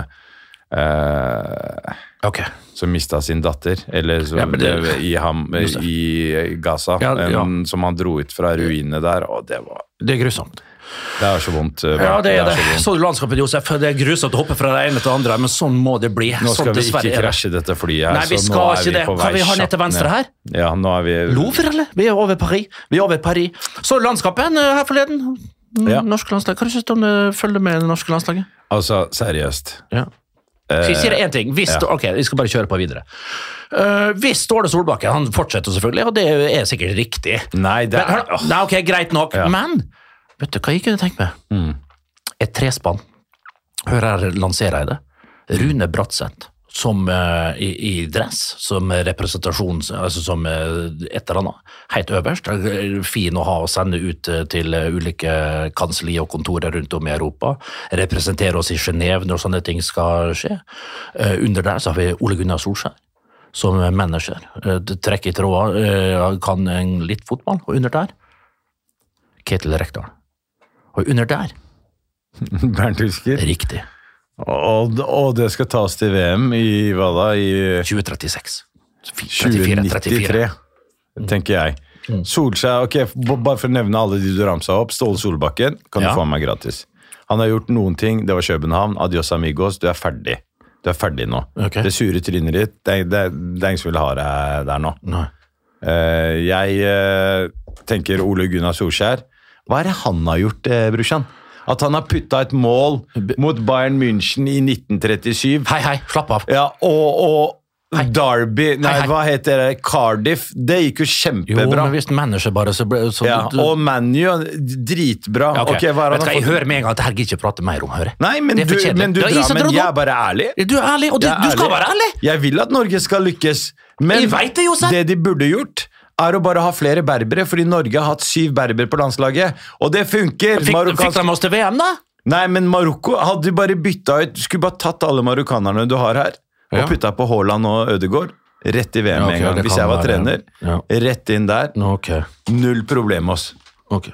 eh, Ok. som mista sin datter, eller som, Ja, men det- i, ham, i Gaza, Ja, ja. en- som han dro ut fra ruinene der, og det var, Det er grusomt. det er så vondt. eh, Ja, det er det. så vondt. Så du landskapet, Josef? Det er grusomt å hoppe fra det ene til det andre, men sånn må det bli. Nå sånn, skal vi ikke dessverre er det. krasje dette flyet her, Nei, vi så nå skal er ikke det. på Kan vei vi ha ned kjapt til venstre her? Ja, nå er vi... Lover, eller? Vi er over Paris. Vi er over Paris. Så landskapet eh, her forleden. Ja. Ja. Norske landslag. Hva syns du om det følger med det norske landslaget? Altså, seriøst. Ja. Eh, Skal jeg si deg én ting? Hvis, Ok, vi skal bare kjøre på videre. Eh, hvis Ståle Solbakken Han fortsetter selvfølgelig, og det er sikkert riktig. Nei, det Men, er... hør, da. nei, ok, Greit nok, Ja. men vet du hva jeg kunne tenkt meg? Et trespann. Hør her lanserer jeg det. Rune Bratseth. Som eh, i, i dress, som representasjon altså Som eh, et eller annet. Helt øverst. Eh, Fin å ha å sende ut eh, til eh, ulike kansli og kontorer rundt om i Europa. Representere oss i Genéve når sånne ting skal skje. Eh, under der så har vi Ole Gunnar Solskjær som manager. Eh, Trekker i tråder, eh, kan en litt fotball. Og under der Ketil Rekdal. Og under der Bernt Husker. Riktig. Og, og det skal tas til VM i, hva da, i... 2036. 34, 34. 2093, tenker jeg. Mm. Solskjær, ok, f- b- Bare for å nevne alle de du ramsa opp. Ståle Solbakken kan Ja. du få av meg gratis. Han har gjort noen ting. Det var København. Adios amigos. Du er ferdig. Du er ferdig nå. Ok. Det sure trynet ditt, det, er- det, er- det er ingen som vil ha deg der nå. Nei. Eh, jeg eh, tenker Ole Gunnar Solskjær. Hva er det han har gjort, eh, brorsan? At han har putta et mål mot Bayern München i 1937. Hei, hei, slapp av. Ja, og, Hei. og Derby Nei, Hei, hei. hva heter det? Cardiff. Det gikk jo Jo, kjempebra. men hvis manager bare så, ble- så ja, og ManU. Dritbra. Ja, ok. Vet Ok, hva er det du hva, han Jeg har fått? hører med en gang at det her gidder jeg ikke prate mer om, hører jeg. Nei, men Det er du, for kjedelig. men du Det er drar, isen til men Rodon. jeg er bare ærlig. Du er ærlig, og du, Jeg er du skal ærlig. være ærlig! Jeg vil at Norge skal lykkes, men Jeg vet det, Josef. det de burde gjort, er å bare ha flere berbere, fordi Norge har hatt syv berbere på landslaget, og det funker! Fikk, fikk Marokkansk de oss til VM, da? Nei, men Marokko hadde du bare bytta ut Du skulle bare tatt alle marokkanerne du har her, Ja. og putta på Haaland og Ødegaard. Rett i VM Ja, med ok, en gang, det hvis kan jeg var være- trener. ja. Rett inn der. Nå, Ok. Null problem med oss. ok.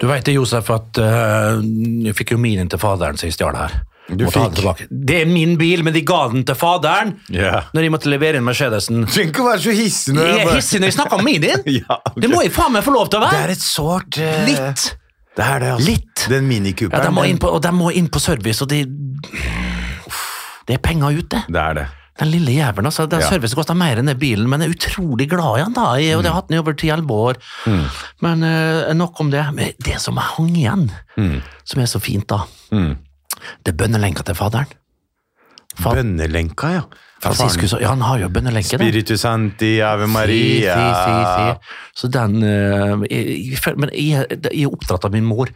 Du veit det, Josef, at eh, jeg fikk jo min til faderen som jeg stjal her. Du Måtte ha den fikk? tilbake. Det er min bil, men de ga den til faderen Ja. når jeg måtte levere inn Mercedesen. Trenger ikke å være så hissig når Jeg jeg er bare- hissig når jeg snakker om min din! Ja, ok. Det må jeg faen meg få lov til å Det være! er et sårt eh, Litt! Det er det, altså. Litt. Den minikuperen. Ja, de må den- inn på, og de må inn på service, og de Det er penger ute. Det er det. Den lille jævelen, altså. Den Ja. servicen koster mer enn den bilen, men jeg er utrolig glad i den, da. Jeg, og det har Mm. hatt den i over ti-elleve år. Men eh, nok om det. Men det som hang igjen, Mm. som er så fint, da, det er bønnelenka til faderen. Fa- Bønnelenka, ja. Fra faren. Franciscus, ja, han har jo bønnelenke, da. Spiritu Santi, Ave Si, si, si, Maria. si. Mm. Så den eh, jeg, jeg, føler- Men jeg, jeg er oppdratt av min mor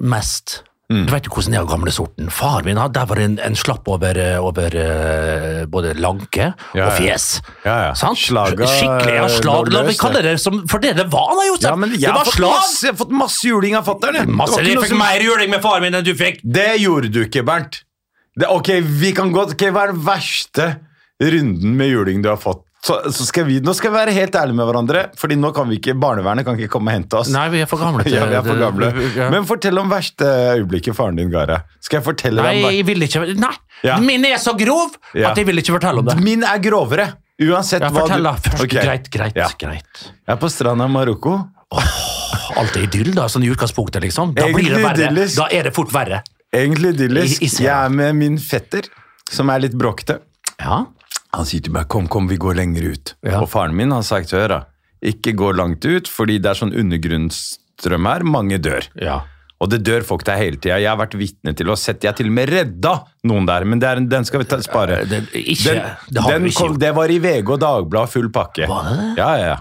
mest. Du vet jo hvordan det er av gamle sorten. Far min, han- der var det en, en slapp over, eh, over eh, både lanke Ja, og ja. fjes. Ja, ja. Sant? Slaga, Skikkelig, ja, slag. La lå løs, meg kalle det som, for det det var da, Josef. Ja, men jeg det har, var fått slag. masse, jeg har fått masse juling av fatter'n. jeg. Det Masse, var ikke jeg noe fikk som- mer juling med faren min enn du fikk. Det gjorde du ikke, Bernt. Det, ok, vi kan godt, ok, Hva er den verste runden med juling du har fått? Så, så skal vi, nå skal vi være helt ærlige med hverandre, Fordi nå kan vi ikke, barnevernet kan ikke komme og hente oss. Nei, vi er for gamle. til- Ja, vi er for gamle. Ja. Men fortell om verste øyeblikket faren din ga deg. Skal jeg fortelle Nei, deg om jeg vil ikke Nei! Ja. Min er så grov Ja. at jeg vil ikke fortelle om det. verste? Min er grovere. Uansett Ja, hva fortell, da. Først, Ok. Greit, greit. Ja. greit. Jeg er på stranda i Marokko. Alt er idyll, da, sånn i utgangspunktet, liksom. Da blir det Egentlig verre. idyllisk. Da er det fort verre. Egentlig idyllisk. I- i Sverige. Jeg er med min fetter, som er litt bråkete. Ja. Han sier til meg 'kom, kom, vi går lenger ut'. Ja. Og faren min har sagt 'hør, da, ikke gå langt ut, fordi det er sånn undergrunnsstrøm her, mange dør'. ja. Og det dør folk der hele tida. Jeg har vært vitne til og sett. Jeg har til og med redda noen der, men det er, en- den skal vi ta, spare. Den- ikke- Eh, det har vi ikke gjort. det var i VG og Dagbladet, full pakke. Var det det? Ja, ja, ja.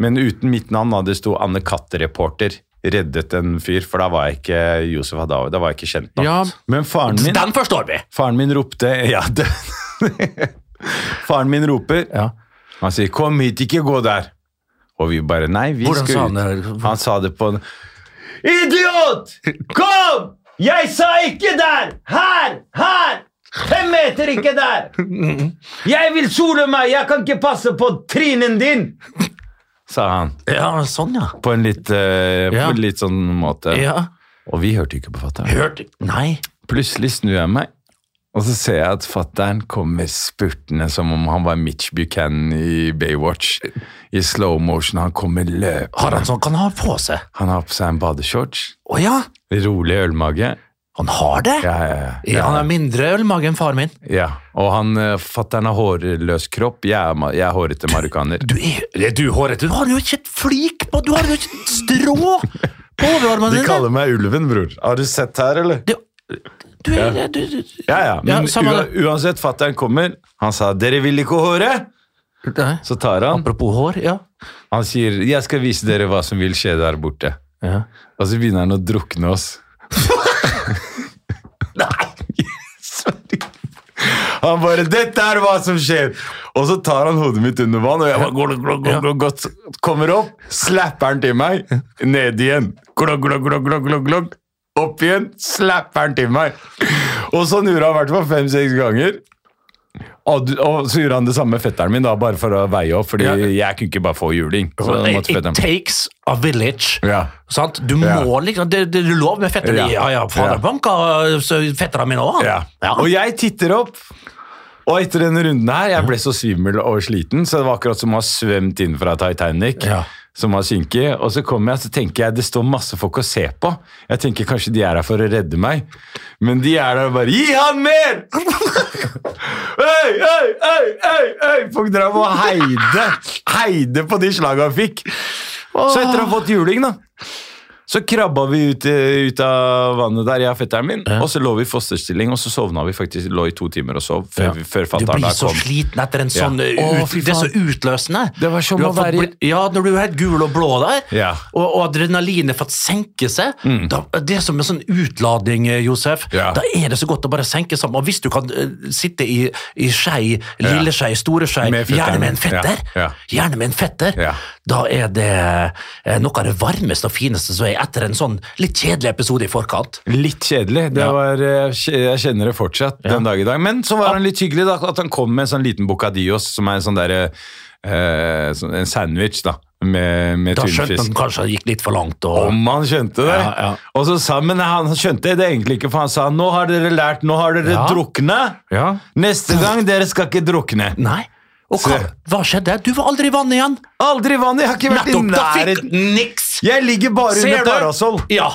Men uten mitt navn, da. Det sto Anne Katt-reporter. Reddet en fyr, for da var jeg ikke Josef Hadaoui. Da var jeg ikke kjent nok. Ja. Men faren min Den forstår vi! Faren min ropte Ja, det Faren min roper Ja. Han sier 'kom hit, ikke gå der'. Og vi bare 'nei, vi Hvordan sa skal han ut'. det? Han sa det på en Idiot! Kom! Jeg sa ikke der! Her! Her! Fem meter ikke der! Jeg vil sole meg! Jeg kan ikke passe på trinen din! Sa han. Ja, sånn, ja. På en litt, eh, Ja. på en litt sånn måte. ja. Og vi hørte ikke på fatter'n. Hørte Nei. Plutselig snur jeg meg, og så ser jeg at fattern kommer spurtende som om han var Mitch Buchanan i Baywatch. I slow motion. Han kommer løpende. Har han sånn? Kan han ha på seg? Han har på seg en badeshorts. Å ja! Rolig ølmage. Han har det? Ja, ja, ja. Ja, han er mindre ølmage enn faren min. ja. Og han eh, fatter'n har hårløs kropp. Jeg er, ma- jeg er hårete marokkaner. Du er, er du hårete? Du har jo ikke et flik på Du har jo ikke et strå på overarmene De dine! kaller meg Ulven, bror. Har du sett her, eller? Du, du, er- du, du, Ja, ja. Men Ja, samme ua- uansett, fatter'n kommer. Han sa 'dere vil ikke håret'. Nei. Så tar han. Apropos hår, ja. Han sier 'jeg skal vise dere hva som vil skje der borte'. ja. Og så begynner han å drukne oss. Nei! Han bare 'Dette er hva som skjer!' Og så tar han hodet mitt under vann, og jeg bare glug, glug, glug, glug, godt, kommer opp, slapper han til meg, ned igjen. Glug, glug, glug, glug, glug, glug. Opp igjen, slapper han til meg. Og sånn gjorde han i hvert fall fem-seks ganger. Og, du- og så gjorde han det samme med fetteren min, da, bare for å veie opp, fordi Ja. jeg kunne ikke bare få juling. Så da It, måtte it fetteren takes a village. Ja. Sant? Du må Ja. liksom Det, det er lov med fetter. Ja. Ja, ja, Ja. fader banka fetterne mine òg. Ja. Og jeg titter opp, og etter denne runden her, jeg ble så svimmel og sliten, så det var akkurat som å ha svømt inn fra Titanic, Ja. som har synket, og så kommer jeg, så tenker jeg, det står masse folk å se på. Jeg tenker kanskje de er her for å redde meg, men de er der og bare, gi han mer! Øy, øy, øy, øy, øy! Folk drev og heide, heide på de slagene han fikk. Så etter å ha fått juling da, så krabba vi ut, eh, ut av vannet der, jeg og fetteren min. Og så lå vi i fosterstilling, og så sovna vi faktisk. Lå i to timer og sov før, Ja. vi- før Du fatter'n blir da så kom. sliten etter en sånn eh, Å, ut, fy Det er så faen. utløsende. Det var som Du har å fått være i- bli- Ja, når du er helt gul og blå der, Ja. Mm. og, og adrenalinet fått senke seg da, Det er som en sånn utlading, eh, Josef. Ja. Da er det så godt å bare senke sammen. Og hvis du kan eh, sitte i, i skei, Ja. lille skei, store skei, Med fetteren. gjerne med en fetter, Ja, ja. gjerne med en fetter, Ja. da er det eh, noe av det varmeste og fineste som er etter en sånn litt kjedelig episode i forkant. Litt kjedelig. Det Ja. var, eh, kje- jeg kjenner det fortsatt den dag i dag. Men så var han litt hyggelig da, at han kom med en sånn liten bocadillos, som er en sånn derre eh, sånn- En sandwich, da, med, med Da skjønte tunfisk. man kanskje det gikk litt for langt. Og, Om han skjønte det! Ja, ja. Og så sa han, men han skjønte det egentlig ikke, for han sa 'nå har dere lært, nå har dere Ja. drukna'. Ja. Neste gang, dere skal ikke drukne. Nei. Og hva, Se. hva skjedde? Du var aldri i vannet igjen! Aldri i vannet! Jeg har ikke vært i Nettopp! Da fikk nærheten. niks! Jeg ligger bare Ser under du? parasoll. Ja.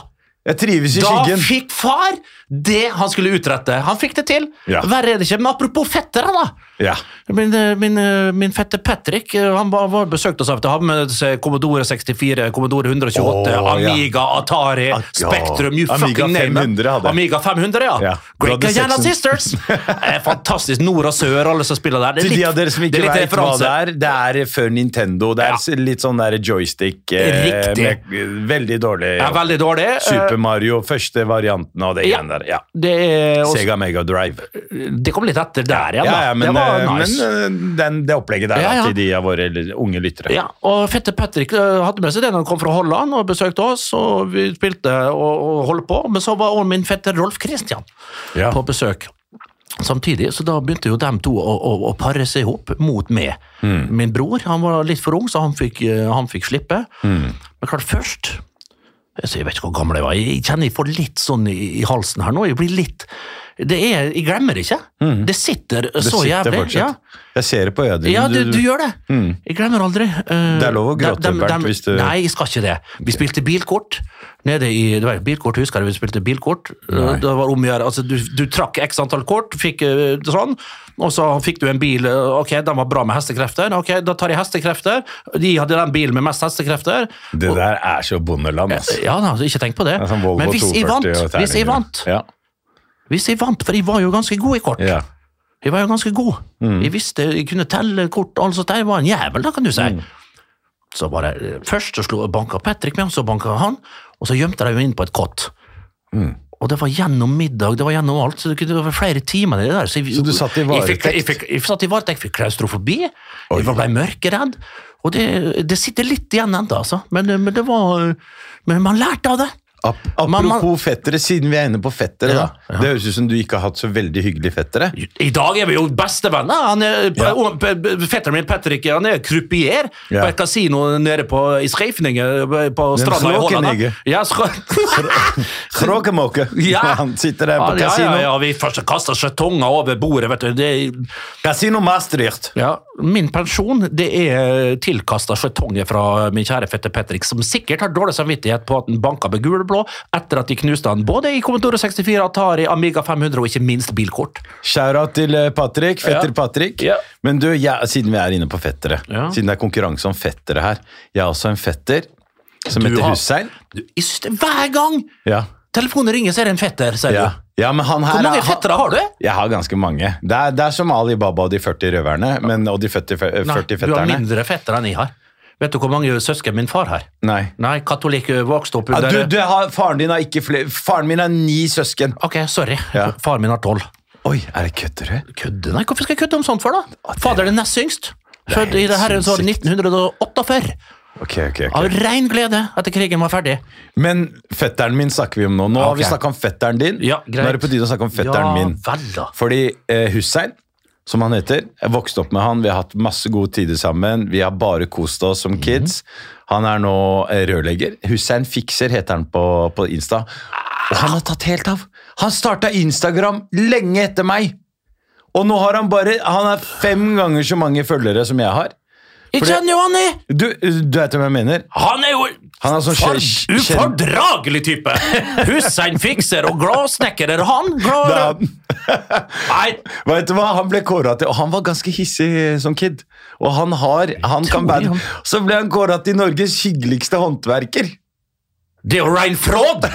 Jeg trives i Da skyggen. fikk far det han skulle utrette. Han fikk det til. Ja. Verre er det ikke. Men apropos fettere, da. Ja. Min, eh, min, eh, min fette Patrick eh, han var, var besøkte oss av og til. Han med seg Commodore 64, Commodore 128, Åh, ja. Amiga, Atari, Ah, ja. Spektrum, you Amiga fucking name it. 500 hadde jeg. Amiga 500, ja. Ja. Great Du hadde Guyana sexen. Sisters! Eh, Fantastisk. Nord og sør, alle som spiller der. Det er Til de av dere som det ikke er litt vet hva referanse. det er, det er før Nintendo. Det er Ja. s- litt sånn der joystick eh, Riktig. med- Veldig dårlig. Det er veldig dårlig. Eh, Super Mario, første varianten av det Ja. igjen der. Ja. Det, er også, Sega Mega Drive. det kom litt etter der igjen, da. Ja, ja, men, det var eh, nice. men eh, den, det opplegget der Ja, da, ja. til de av våre l- unge lyttere. Ja, og fette Patrick eh, hadde med seg det når han kom fra Holland og besøkte oss, og vi spilte og, og holdt på, men så var også min fette Rolf Christian Ja. på besøk. Samtidig, så da begynte jo dem to å, å, å pare seg ihop mot meg. Mm. Min bror, han var litt for ung, så han fikk, eh, han fikk slippe. Mm. Men klart først, altså, jeg vet ikke hvor gammel jeg var, jeg kjenner jeg får litt sånn i, i halsen her nå, jeg blir litt, det er, jeg glemmer ikke. Det sitter eh, Mm. Det så sitter jævlig. fortsatt. Jeg ser det på øya di. Ja, du, Du- Mm. du gjør det. Jeg glemmer aldri. eh, Det er lov å dem- gråte, dem- Bernt, dem- hvis du- Nei, jeg skal ikke det. Vi spilte bilkort nede i det var Bilkort, husker jeg vi spilte bilkort. Nei. Eh, Det var om å gjøre, altså, du, du trakk x antall kort, fikk eh, sånn, og så fikk du en bil eh, Ok, den var bra med hestekrefter. Ok, da tar jeg hestekrefter. De hadde den bilen med mest hestekrefter. det der er så bondeland, altså. Ja, da, altså, ikke tenk på det. Det er sånn Volvo Men hvis jeg 240 vant, og hvis jeg terninger. vant, Ja. hvis jeg vant, for jeg var jo ganske god i kort. Ja. Jeg var jo ganske god. Mm. Jeg visste, jeg kunne telle kort, og alt sånt. Jeg var en jævel, da, kan du si. Mm. Så bare, eh, Først så slo banka Patrick med, og så banka han, og så gjemte de meg inn på et kott. Mm. Og det var gjennom middag, det var gjennom alt, så det kunne- det var flere timer i det der. jeg, Så du satt i Jeg fikk, varetekt? jeg fikk, jeg satt i varetekt, fikk klaustrofobi, jeg ble mørkeredd, og det, det sitter litt igjen ennå, altså. Men, men det var eh, Men man lærte av det. Ap Man- man- apropos fettere, siden vi er inne på fettere, Ja, da. Det høres ut som du ikke har hatt så veldig hyggelig fettere. I dag er vi jo bestevenner. Han er, Ja. og P- P- Fetteren min Patrick han er croupier Ja. på et kasino nede på, i Schreifningen, på stranda i Holland. da. Schrokenegger. Ja, skro- Kråkemåke! Ja. Han sitter der på ja, kasino. ja, ja, vi først kaster skjetonger over bordet, vet du. Det, er- Kasino Maastricht! ja, min pensjon det er tilkasta skjetonger fra min kjære fetter Patrick, som sikkert har dårlig samvittighet på at han banka med gulblå etter at de knuste han både i Commodore 64, Atari, Amiga 500 og ikke minst bilkort. Shout-out til eh, Patrick, fetter Ja. Patrick. Ja. Men du, jeg, siden vi er inne på fettere, Ja. siden det er konkurranse om fettere her Jeg har også en fetter som Du heter har- Hussein. Du, jeg synes det- Hver gang Ja. telefonen ringer, så er det en fetter, sier Ja. du. ja, men han her Hvor mange er- fettere har du? Jeg har ganske mange. Det er, det er som Ali Baba og de 40 røverne. Men, og de 40, fe- eh, 40 du har fetterne. mindre fettere enn jeg har. Vet du hvor mange søsken min far har? Nei. Nei, katolikk ø, vokste opp Ja, under du, du har, faren din har ikke flere Faren min har ni søsken. Ok, sorry. Ja. Far min har tolv. Oi, er det kødder du? Kødde? Nei, hvorfor skal jeg kødde om sånt for, da? Fader er nest yngst. Født i det herrens år 1948. Ok, ok, ok. Av rein glede etter krigen var ferdig. Men fetteren min snakker vi om nå. Nå har vi Ok. snakka om fetteren din. Ja, greit. Nå er det på tide å snakke om fetteren min. Ja vel, da. Fordi eh, Hussein, som han heter, jeg vokste opp med han, vi har hatt masse gode tider sammen, vi har bare kost oss som kids. Han er nå eh, rørlegger. Hussein Fikser heter han på, på Insta. Og han har tatt helt av. Han starta Instagram lenge etter meg. Og nå har han bare Han har fem ganger så mange følgere som jeg har. Jeg kjenner jo han, jeg! Du, du vet hvem jeg mener? Han er jo Han er sånn for- skje- ufordragelig type! Hussein fikser og gladsnekker er han. Det er Glad... han. Nei, Vet du hva, Han ble kåra til Og han var ganske hissig eh, som kid. Og han har han kan Tror jeg band. Så ble han kåra til Norges hyggeligste håndverker. det er jo rein fråd!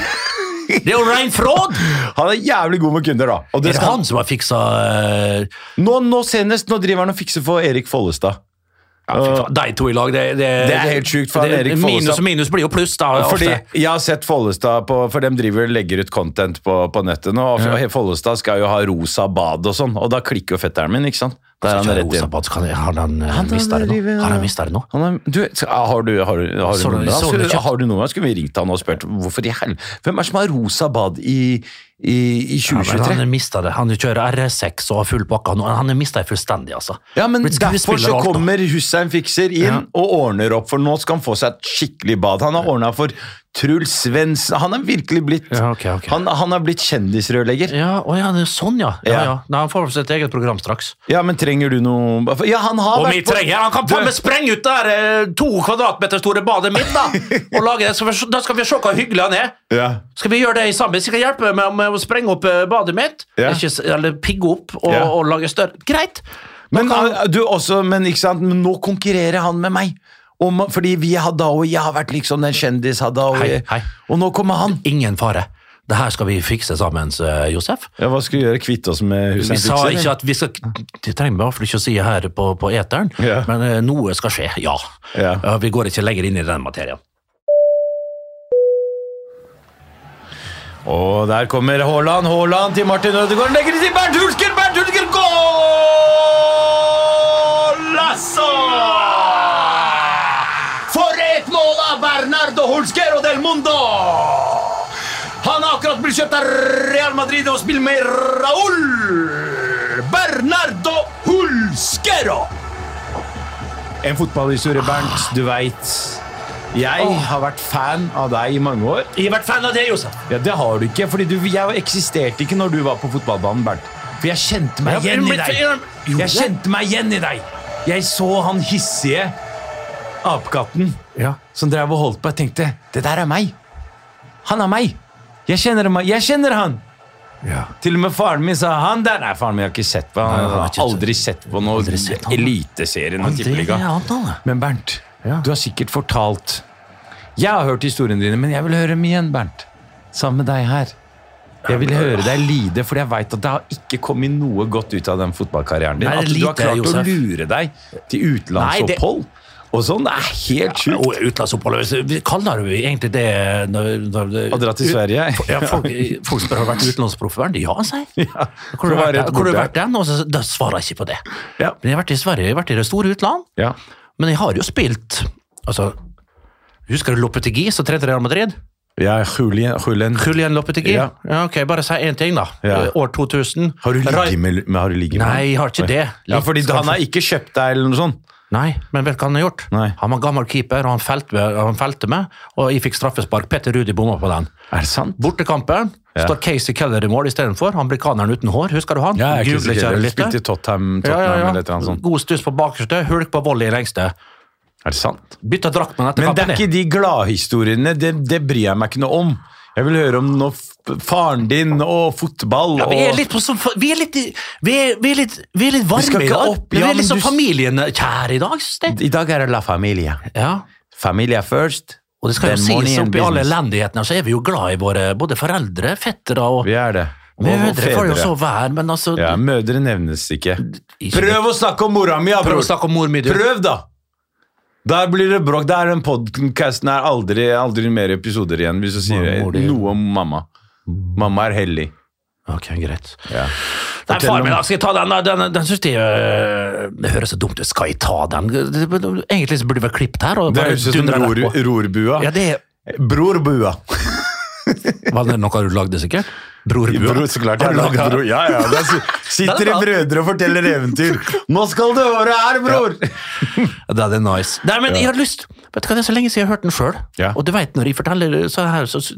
Det er jo rein fråd! Han er jævlig god med kunder, da. Og Er det det skal, han som har fiksa eh, nå, nå senest, nå driver han og fikser for Erik Follestad. ja, fy faen, De to i lag, det, det, Det er helt sjukt, for han det- Erik Minus Follestad- og minus blir jo pluss, da. Fordi ofte. jeg har sett Follestad på For dem driver og legger ut content på, på nettet nå. Og Follestad skal jo ha rosa bad og sånn, og da klikker jo fetteren min, ikke sant. Da er Så han kjører rett inn. Rosenborg, så kan jeg- Har han eh, Han mistet det nå? driver- Har han mistet det nå? Han er, du, skal- har du, har, du- har du Så- nummeret? hans? så- Skulle- kjapt. Har du nummeret? Skulle vi ringt han og spurt hvorfor i hel... Hvem er det som har rosa bad i, i, i Ja, men 2023? han har mistet det. Han kjører RS6 og har full pakke. Han- Han har mista det fullstendig, altså. Ja, men Blitt Derfor skuespiller så og alt, da. kommer Hussein Fikser inn og ordner opp, for nå skal han få seg et skikkelig bad. Han har ordna for Truls Svendsen Han er virkelig blitt Ja, ok, ok. Han, han er blitt kjendisrørlegger. Ja, å ja, det er sånn, ja. ja, Ja. ja. Nei, han får sitt eget program straks. Ja, men trenger du noe Ja, han har Om vært jeg på- trenger Han kan faen meg sprenge ut det her, eh, to kvadratmeter store badet mitt, da! Og lage det. Så vi- Da skal vi se hvor hyggelig han er. ja. Skal vi gjøre det sammen? Skal jeg hjelpe med, med å sprenge opp eh, badet mitt? Ja. Ikke, s- eller pigge opp og, Ja. og lage større Greit! Men, eh, du, også, men, ikke sant? men nå konkurrerer han med meg. Om, fordi vi er Hadaoui, jeg har vært liksom den kjendis Hadaoui. Hei, hei. Og nå kommer han. Ingen fare. Det her skal vi fikse sammen, eh, Josef. Ja, Hva skal vi gjøre? Kvitte oss med Vi sa ikke at vi skal Det trenger vi i hvert fall ikke å si her på, på eteren, Ja. men eh, noe skal skje, ja. Ja. Eh, Vi går ikke lenger inn i den materien. Og der kommer Haaland, Haaland til Martin Ødegaard. Legger det til Bernt Hulsker, Bernt Hulsker, Goal! Altså! For et mål av Bernardo Hulsker og Del Mundo! Han har akkurat blitt kjøpt av Real Madrid og spiller med Raúl Bernardo Hulskero! En fotballhistorie, Bernt. Du veit. Jeg har vært fan av deg i mange år. Jeg har vært fan av det, Josef. Ja, Det har du ikke, fordi du, jeg eksisterte ikke når du var på fotballbanen, Bernt. For jeg kjente meg Ja, igjen i men- deg. Jo. Jeg kjente meg igjen i deg. Jeg så han hissige apekatten Ja. som drev og holdt på. Jeg tenkte, det der er meg. Han er meg. Jeg kjenner, meg. Jeg kjenner han. Ja. Til og med faren min sa han der. Nei, faren min har ikke sett på han. Nei, han har har ikke sett- aldri sett på noe Aldri sett han. eliteserien og Men det er tippeliga. han, da. Men Bernt, Ja. du har sikkert fortalt Jeg har hørt historiene dine, men jeg vil høre dem igjen, Bernt. Sammen med deg her. Jeg vil høre deg lide, for jeg veit at det har ikke kommet noe godt ut av den fotballkarrieren din. Nei, At du har lite, klart å Josef. lure deg til Nei, det- utenlandsopphold og sånn. Det er helt sjukt. Og Utenlandsopphold. Vi kaller jo egentlig det når, når, Å dra til Sverige. Ja, folk, folk spør har du vært utenlandsproffvern. Ja, sier jeg. Hvor har du det var vært, rett hvor har du borte. vært den? Og så da svarer jeg ikke på det. Ja. Men jeg har vært i Sverige, jeg har vært i det store utland. Ja. Men jeg har jo spilt altså, Husker du Lopetegui som trente Real Madrid? Ja, Julien, Julien. Julian Lopetegui? Ja. Ja. ok, Bare si én ting, da. Ja. Eh, År 2000. Har du Rai- ligget med, men har du ligget med Nei, jeg har ikke det. Ja, fordi han har ikke kjøpt deg eller noe sånt. Nei, men vet du hva han har gjort? Nei. Han var gammel keeper, og han felte, han felte meg, og jeg fikk straffespark. Petter Rudi bomma på den. Er det sant? Bortekampen Ja. står Casey Keller i mål istedenfor. Amerikaneren uten hår, husker du han? Ja, jeg er ikke Google, sikker. kjære Du lytter. spilte i Tottenham, Ja, Tottenham ja, ja. eller et eller annet sånt. God stuss på bakerste, hulk på volley i lengste. Er det sant? Bytta drakt med etter Men det er kampen. ikke de gladhistoriene. Det, det bryr jeg meg ikke noe om. Jeg vil høre om noe f- faren din og fotball Ja, vi er og litt på sånn, vi er litt, vi er, vi er litt, vi er litt skal varme i ikke dag. opp, vi ja, er litt men sånn du- familien kjær i dag, synes jeg. I dag er det la familia. Ja. Familia first. Og det skal Then jo money sies and oppi alle business. elendighetene, så er vi jo glad i våre både foreldre, fettere og Vi er det. Og- og mødre. får jo fedre. så være, men altså Ja, mødre nevnes ikke. Ikke- Prøv å snakke om mora mi, da, Prøv bror! å snakke om mor mi, du. Prøv, da! Der blir det bråk. Der den podcasten er aldri, aldri mer episoder igjen hvis du sier Mamma, mor, det- noe om mamma. Mamma er hellig. Ok, greit. Ja. Nei, Fortell far min, om- da. Skal jeg ta den? da? Den, den synes jeg øh, Det høres så dumt ut. Skal jeg ta den? Det- det- Egentlig så burde vi vært klippet her. Og Det bare høres ut som dundre den ror, på. rorbua. Ja, det Brorbua. var det noe du lagde, sikkert? Bror, Bro, så klart jeg Har du har laget lagd den? bro. Ja, ja, der si- sitter i brødre og forteller eventyr. Nå skal du høre her, bror! Ja, det er nice. Nei, men jeg har lyst Vet du hva, det er så lenge siden jeg har hørt den sjøl. Ja. Og du veit når jeg forteller så her, så så-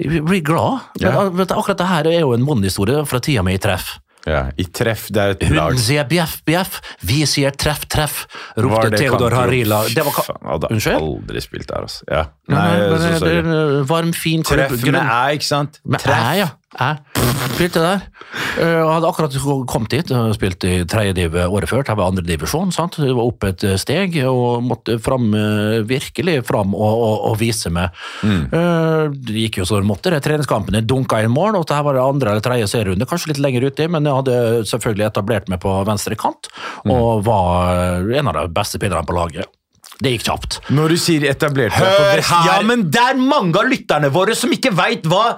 jeg blir glad. Men Ja. al- vet du, akkurat det her er jo en Monn-historie fra tida mi i treff. Ja, I treff, det er et lag. Hun sier bjeff, bjeff, vi sier treff, treff, Var ropte det Theodor Kantro? Harila. Det var Fy ka faen, jeg hadde Unnskyld? Aldri spilt der, altså. Ja. Nei, Nei, jeg er men eh, så det er sorry. en varm, fin klubb. Treff med æ, ikke sant? Med æ, ja. Æ. Spilte der. Eh, Og hadde akkurat kommet hit, og spilt i tredje div året før, det var andre divisjon. sant? Det var opp et steg og måtte fram, eh, virkelig fram og, og, og vise meg. Mm. Eh, Det gikk jo så det måtte. det. Treningskampene dunka inn mål, og dette var det andre eller tredje serierunde, kanskje litt lenger uti, men jeg hadde selvfølgelig etablert meg på venstre kant, Mm. og var en av de beste spillerne på laget. Det gikk kjapt. Når du sier etablert deg på Hør vest- her! Ja, men det er mange av lytterne våre som ikke veit hva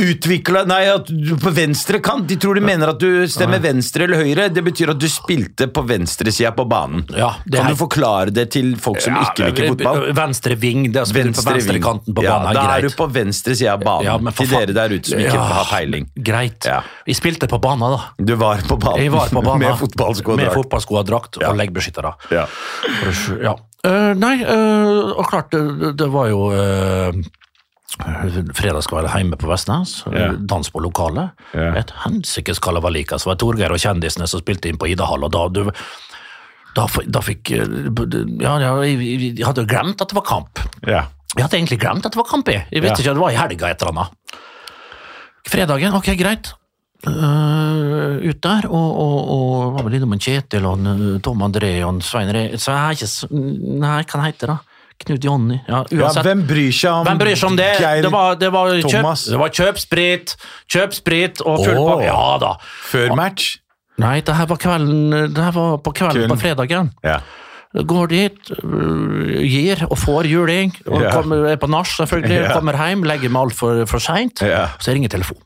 Utvikla Nei, at du på venstre kant. De tror de mener at du stemmer venstre eller høyre. Det betyr at du spilte på venstresida på banen. Ja, det kan er- du forklare det til folk som ikke Ja, liker fotball? Venstre ving, det er å spille på ving. venstre kanten på ja, banen. Da greit. er du på venstre side av banen, Ja, men for til faen. dere der ute som ikke Ja, har peiling. Greit. Ja. Vi spilte på banen, da. Du var på banen, Jeg var på banen med fotballsko og Med drakt. fotballsko og drakt Ja. og leggbeskyttere. Ja. Ja. Eh, nei, eh, og klart, det, det var jo eh, Fredagskveld hjemme på Vestnes, Ja. dans på lokalet. Ja. Et hensikes kalabalik. altså. Det var Torgeir og kjendisene som spilte inn på Idahall, og da du, da, f- da fikk eh, Ja, ja jeg, jeg jeg hadde jo glemt at det var kamp. Ja. Jeg hadde egentlig glemt at det var kamp. Jeg Jeg visste ikke Ja. at det var i helga et eller annet. Fredagen, ok, greit. øh, ut der, og, og, og var vel innom en Kjetil og en, øh, Tom André og en Svein Re... Så jeg er ikke s- Nei, hva heter det? da? Knut Jonny? Ja, Ja, uansett. hvem bryr seg om Hvem bryr seg om det? Geir Det var, det var, kjøp, Thomas. det var kjøp sprit, kjøp sprit og full Åh. pakke. Ja da. før match? Nei, det her var, kvelden, det her var på kvelden Kvelden. på fredagen. Ja. Går dit, øh, gir og får juling. Og Ja. kommer, er på nach, selvfølgelig. Ja. Kommer hjem, legger meg altfor for, for seint. Ja. Så ringer telefonen.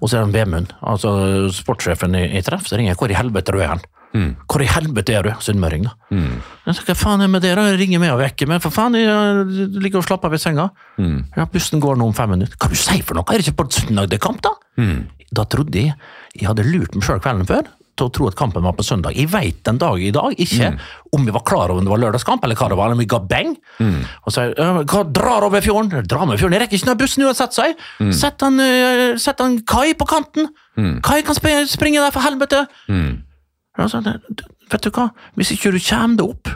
Og så er det Vemund, altså sportssjefen i, i Treff, så ringer jeg. Hvor i helvete er du hen? Mm. Hvor i helvete er du? Sunnmøring, da. Jeg sa, Hva faen er med det? da? Jeg ringer meg og vekker meg. For faen, jeg ligger og slapper av i senga. Ja, bussen går nå om fem minutter. Hva du sier for noe? Er det ikke på søndag det er kamp, da? Da trodde jeg jeg hadde lurt meg sjøl kvelden før til å tro at kampen var på søndag. Jeg veit den dag i dag ikke om vi var klar over om det var lørdagskamp, eller hva det var, eller om vi ga beng. Og så «Ja, men hva drar over fjorden? Dra med fjorden, jeg rekker ikke når bussen uansett, sa jeg. Sett han, eh, sett han Kai på kanten. Kai kan sp springe der, for helvete. Ja, så det, det- vet du hva, hvis ikke du kommer deg opp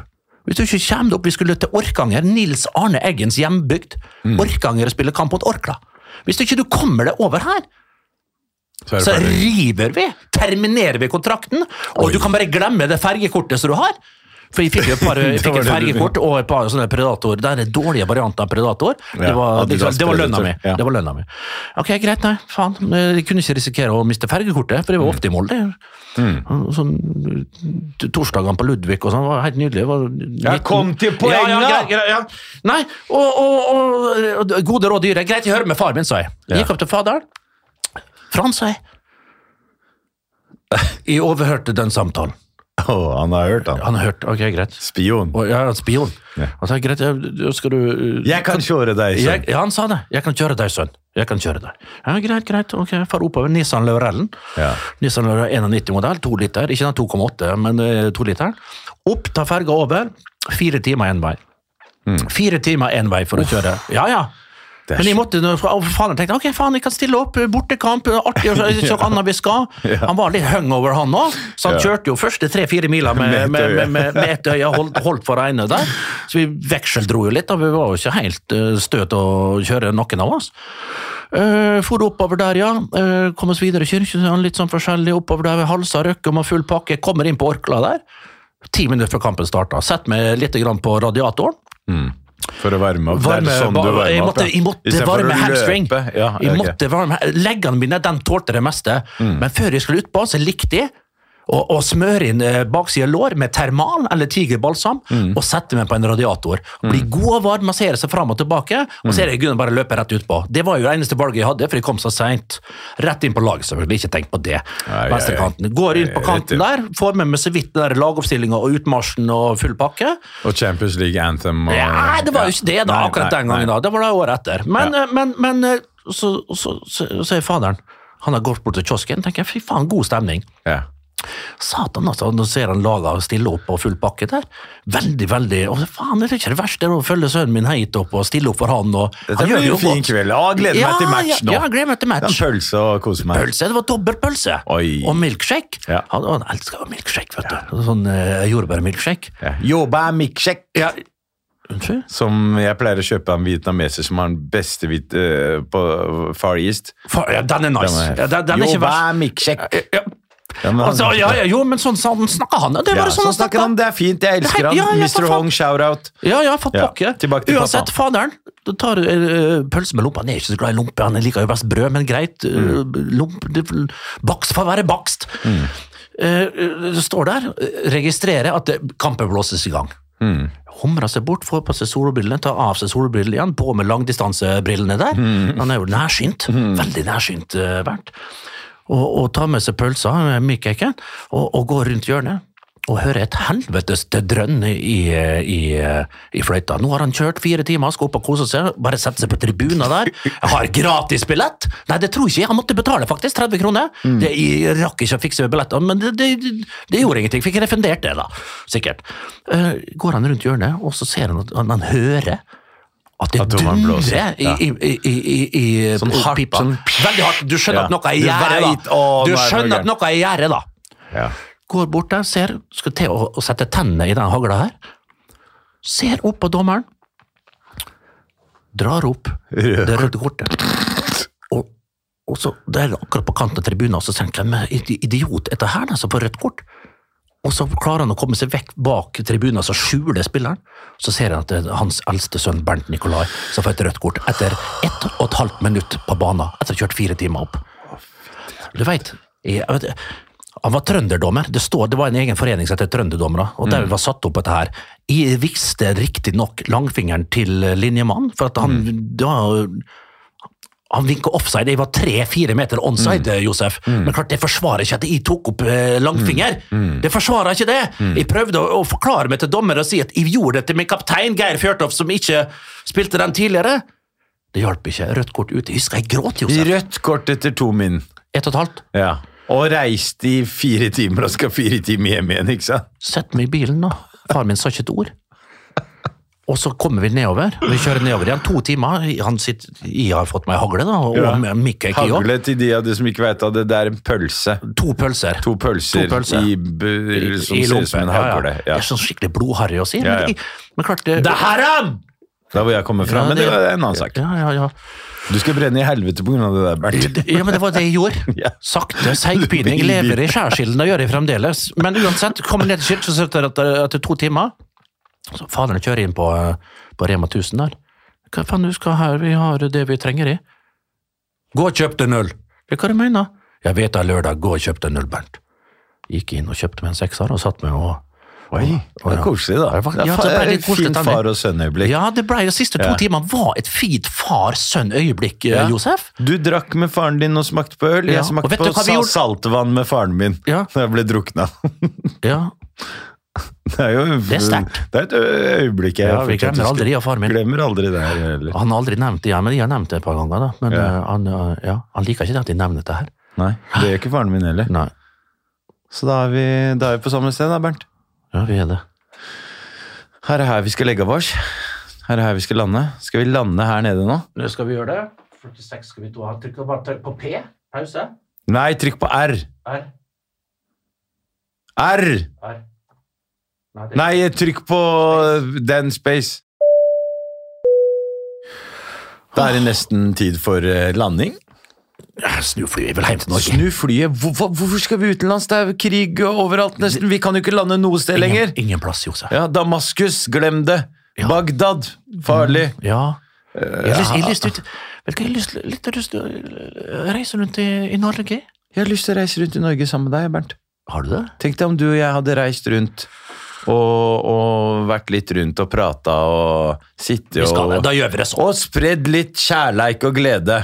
hvis du ikke kommer deg opp, Vi skulle til Orkanger, Nils Arne Eggens hjembygd. Mm. Orkanger spiller kamp mot Orkla. Hvis ikke du kommer deg over her, Så er så det ferdig. river vi, terminerer vi kontrakten, og du kan bare glemme det fergekortet som du har. For jeg fikk jo et par jeg fikk var et det du fergekort og et par sånne predator. Det er den dårlige varianten av predator. Det Ja, var, Adidas liksom, det var lønna Predator, mi. ja. Det var lønna mi. Ok, greit, nei, faen. Jeg kunne ikke risikere å miste fergekortet, for jeg Mm. var ofte i Molde. Og Sånn, t- Torsdagene på Ludvig og sånn var helt nydelig. Det Var 19 kom til poenget! Ja, ja, greit, greit, ja. Nei, og, og, og, og gode råd dyre. Greit, jeg hører med far min, sa jeg. Jeg Gikk opp til faderen. Frans, sa jeg. Jeg overhørte den samtalen. Åh, han har hørt, han. Han har hørt, ok, greit. Spion. Og jeg er en spion. Han sa, greit, ja, du- skal du... Jeg kan kjøre deg, Jeg, sønn. ja, han sa det. Jeg kan kjøre deg, sønn. Jeg kan kjøre deg. Ja, greit, greit. Ok, jeg far oppover. Nissan Laurellen. Ja. Nissan Laurel 91-modell, to liter. Ikke den 2,8, men eh, to liter. Opp, ta ferga over. Fire timer én vei. Fire timer én vei for å kjøre. Ja, ja. Hmm. Det er Men jeg så- måtte, nå- å, faen, jeg tenkte ok, faen, jeg kan stille opp, eh, bortekamp, artig, og så er det ikke noe annet vi skal. Han var litt hungover, han òg, så han Ja. kjørte jo første tre-fire miler med, Med med, ett øye. med, med, med ett øye, holdt, holdt for ene der. Så vi vekseldro jo litt, da. vi var jo ikke helt eh, stø til å kjøre, noen av oss. Uh, for oppover der, ja. Eh, kom oss videre i Kirkesand, litt sånn forskjellig. Oppover der ved Halsa, Røkkum og full pakke. Kommer inn på Orkla der. Ti minutter før kampen starta. Sett meg litt grann på radiatoren. For å varme opp. Varme, det er sånn du ba- varmer jeg opp, måtte, ja. jeg måtte Istedenfor å varme løpe. hamstring. Ja, Jeg ok. Mm. måtte varme, leggene mine den tålte det meste, men før jeg skulle utpå, så likte jeg å, å smøre inn eh, baksida lår med termal eller tigerbalsam Mm. og sette meg på en radiator. Bli god og varm, massere seg fram og tilbake, Mm. og så er det i grunnen bare å løpe rett utpå. Det var jo det eneste valget jeg hadde, for jeg kom så seint. Rett inn på laget, selvfølgelig. Ikke tenk på det. Nei, jeg- Venstrekanten. Går inn på jeg- kanten jeg- der, får med meg så vidt den der lagoppstillinga og utmarsjen og full pakke. Og Champions League Anthem og Ja, det var jo ikke det da, Nei, akkurat nei, den gangen. nei. da. Det var det året etter. Men, eh, men, men eh, så, så, så, så er faderen Han har gått bort til kiosken tenker jeg, fy faen, god stemning. Ja. Satan, altså. Nå ser han laga stille opp og full pakke der. Veldig, veldig og faen, Det er ikke det verste å følge sønnen min hit opp og stille opp for han. Og, Dette han gjør blir det jo en fin godt. kveld. Å, gleder ja, meg til match ja, nå. Ja, jeg gleder meg til Det er match. en pølse og kose meg. Pølse, det var dobbeltpølse. Oi. Og milkshake. Ja. Han, han elsker jo milkshake, vet du. Sånn eh, jordbærmilkshake. Ja. Jobba milkshake. Ja. Unnskyld? Som jeg pleier å kjøpe av en vietnameser som har den beste hvit eh, på Far East. Faen, ja, den er nice. ja, den, den er ikke Jobba verst. milkshake. Ja. Ja, men han- Altså, ja, ja, jo, men sånn, sånn snakker han. Det er Ja, bare sånn sånn han snakker snakker. han. Det er fint. Jeg elsker Nei, han. ja, ja, for Mr. faen. Hong, shout-out. Ja, ja, fått Ja, pakke. tilbake til Uansett, pappa. faderen da tar du eh, pølse med lompe. Han er ikke så glad i lompe, han liker jo best brød, men greit. eh, lomp, det, bakst får være bakst. Eh, eh, står der, eh, registrerer at det- kampen blåses i gang. Humrer seg bort, får på seg solbrillene, tar av seg solbrillene igjen, på med langdistansebrillene der. Han er jo nærsynt. Veldig nærsynt eh, vært. og, og tar med seg pølsa, eh, mykaken, og, og går rundt hjørnet. Og hører et helvetes drønn i, eh, i, eh, i fløyta. Nå har han kjørt fire timer, skal opp og kose seg. Bare sette seg på tribunen der. Jeg har gratisbillett! Nei, det tror ikke jeg. Han måtte betale faktisk 30 kroner. Mm. Det, jeg rakk ikke å fikse billettene, men det, det, det, det gjorde ingenting. Fikk refundert det, da. Sikkert. Eh, går han rundt hjørnet, og så ser han at han, han hører at det At dommeren dundrer blåser, i, ja. i, i, i, i, i Sånn hardt, pipa. sånn- Veldig hardt. Du skjønner Ja. at noe er i Du gjære, vet, da. å, Du nå er det skjønner noe at noe er i gjære, da Ja. går bort der, ser, skal til å, å sette tennene i den hagla her, ser opp på dommeren, drar opp det røde kortet, og, og så der akkurat på kanten av tribunen, og så tenker jeg, men idi- idiot, er det her den som får rødt kort? Og så klarer han å komme seg vekk bak tribunen, altså skjule spilleren. Så ser han at det er hans eldste sønn, Bernt Nikolai, som får et rødt kort etter ett og et halvt minutt på banen, etter å ha kjørt fire timer opp. Du veit, jeg, jeg vet han var trønderdommer. Det, står, det var en egen forening som heter Trønderdommere, og der var satt opp dette her. Jeg viste riktignok langfingeren til linjemannen, for at han da, han vinka offside. Jeg var tre-fire meter onside, Josef. Men klart, det forsvarer ikke at jeg tok opp eh, langfinger. Det forsvarer ikke det! Jeg prøvde å, å forklare meg til dommer og si at jeg gjorde det til min kaptein Geir Fjørtoft, som ikke spilte den tidligere. Det hjalp ikke. Rødt kort ut. Jeg husker jeg gråt, Josef. Rødt kort etter to min. Ett og et halvt. Ja. Og reiste i fire timer og skal fire timer hjem igjen, ikke sant? Sett meg i bilen, da. Far min sa ikke et ord. Og så kommer vi nedover. Vi kjører nedover igjen to timer. Han sitter, jeg har fått meg hagle, da. Og Ja. Mikke Kio. Hagle til de av dere som ikke veit av det, det er en pølse. To pølser. To pølser, To pølser. i bu- som i ser ut som lompen. en Ja, ja. hagle. Det Ja. er sånn skikkelig blodharry å si. Ja, ja. Men, det, men klart det, Det er haram! Der hvor jeg kommer fra, Ja, men det er en annen sak. Ja, ja, ja. Du skal brenne i helvete pga. det der, Bernt. ja, men det var det jeg gjorde. Ja. Sakte seigpining. Veldig. Lever i skjærsilden, det gjør jeg fremdeles. Men uansett, kommer ned til kirken, så sitter jeg etter, etter to timer. Så faderen kjører inn på, eh, på Rema 1000 der. Hva faen du skal her, vi har det vi trenger i. Gå og kjøp deg en øl. «Ja, Hva du mener du? Jeg vet det er lørdag, gå og kjøp deg en øl, Bernt. Gikk inn og kjøpte meg en sekser og satt meg og Oi, det er koselig, da. Det var- Det ja, er så ble fa- det et litt koselig, fint Tanne. far og sønn-øyeblikk. Ja, det ble de siste to Ja. timene var et fint far-sønn-øyeblikk, eh, Ja. Josef. Du drakk med faren din og smakte på øl. Ja, Jeg og smakte vet på du hva vi sa- gjorde? saltvann med faren min Ja. da jeg ble drukna. Ja, Det er jo Det er sterkt. Det er et ø- øyeblikk jeg ja Vi fortsatt glemmer husker. aldri av far min. Glemmer aldri det her heller. Han har aldri nevnt det, ja, men jeg har nevnt det et par ganger. da. Men Ja. eh, han, eh, ja, han liker ikke det at jeg nevner dette her. Nei, det gjør ikke faren min heller. Nei, Så da er vi, da er vi på samme sted, da, Bernt. ja, vi er det. Her er her vi skal legge av oss. Her er her vi skal lande. Skal vi lande her nede nå? Nå skal vi gjøre det. 46 skal vi to ha. Trykk, bare trykk på P. Pause. Nei, trykk på R. R. R! R. Nei, trykk på den space. Da er det nesten tid for eh, landing. Snu flyet, vi vil hjem til Norge. Snu flyet. Hvor, hva- hvorfor skal vi utenlands? Det er krig overalt nesten. Vi kan jo ikke lande noe sted lenger. Ingen, ingen plass, Josef. Ja, Damaskus, glem det. Ja. Mm. Bagdad, farlig. Ja. Jeg har lyst, jeg har lyst ut, vet du hva, jeg har lyst, litt lyst til å eh, reise rundt i, i Norge. Jeg har lyst til å reise rundt i Norge sammen med deg, Bernt. Har du det? Tenk deg om du og jeg hadde reist rundt og, og vært litt rundt og prata og sittet Vi skal, og da gjør vi det sånn. Og spredd litt kjærleik og glede.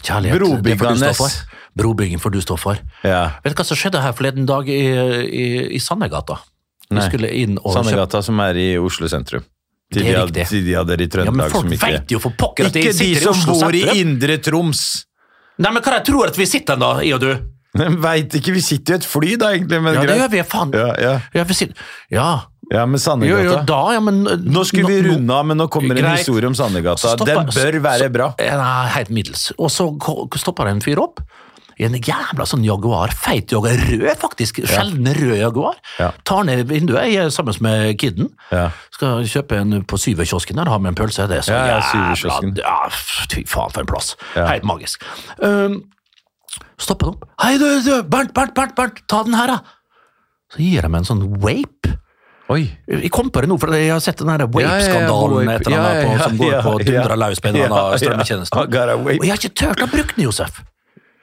Kjærlighet, det får du stå Brobyggernes. for. Brobygging får du stå for. Ja. Vet du hva som skjedde her forleden dag i, i, i Sandegata? Vi Nei. skulle inn og kjøpe Sandegata, som er i Oslo sentrum. Til Det de, er hadde, riktig. til de av dere i Ja, men Trøndelag folk som ikke veit jo for pokker at de Ikke de sitter i som Oslo bor i sentrum! Indre Troms! Nei, men hva jeg tror at vi sitter da, jeg og du? Veit ikke, vi sitter jo i et fly da, egentlig, men Ja, det gjør greit. vi, faen. Ja, ja. Ja, vi sitter. ja. ja, men Jo, Sandegata jo, da, ja, men Nå skulle vi nå- runde av, men nå kommer en Greit. historie om Sandegata. Så stoppa- Den bør være så- bra. Ja, Nei, helt middels. Og så ko- stopper det en fyr opp i en jævla sånn Jaguar, feit Jaguar, rød faktisk, sjelden rød Jaguar. Ja. Tar ned vinduet, jeg er sammen med kidden. Ja. Skal kjøpe en på Syverkiosken der, har med en pølse. Det er så Ja, ja, Syverkiosken. jævla ja, Fy faen, for en plass. Ja. Helt magisk. Um, stopper han opp. Hei, du, du, Bernt, Bernt, Bernt, Bernt, ta den her, da! Så gir jeg meg en sånn vape. Oi. Jeg kom på det nå, for jeg har sett den der Wape-skandalen Ja, ja, ja, et eller annet Wape. på- som Ja, går ja, på å ja. dundre løs på en eller Ja, ja. annen strømmetjeneste. I got a Wape. Og jeg har ikke turt å bruke den, Josef.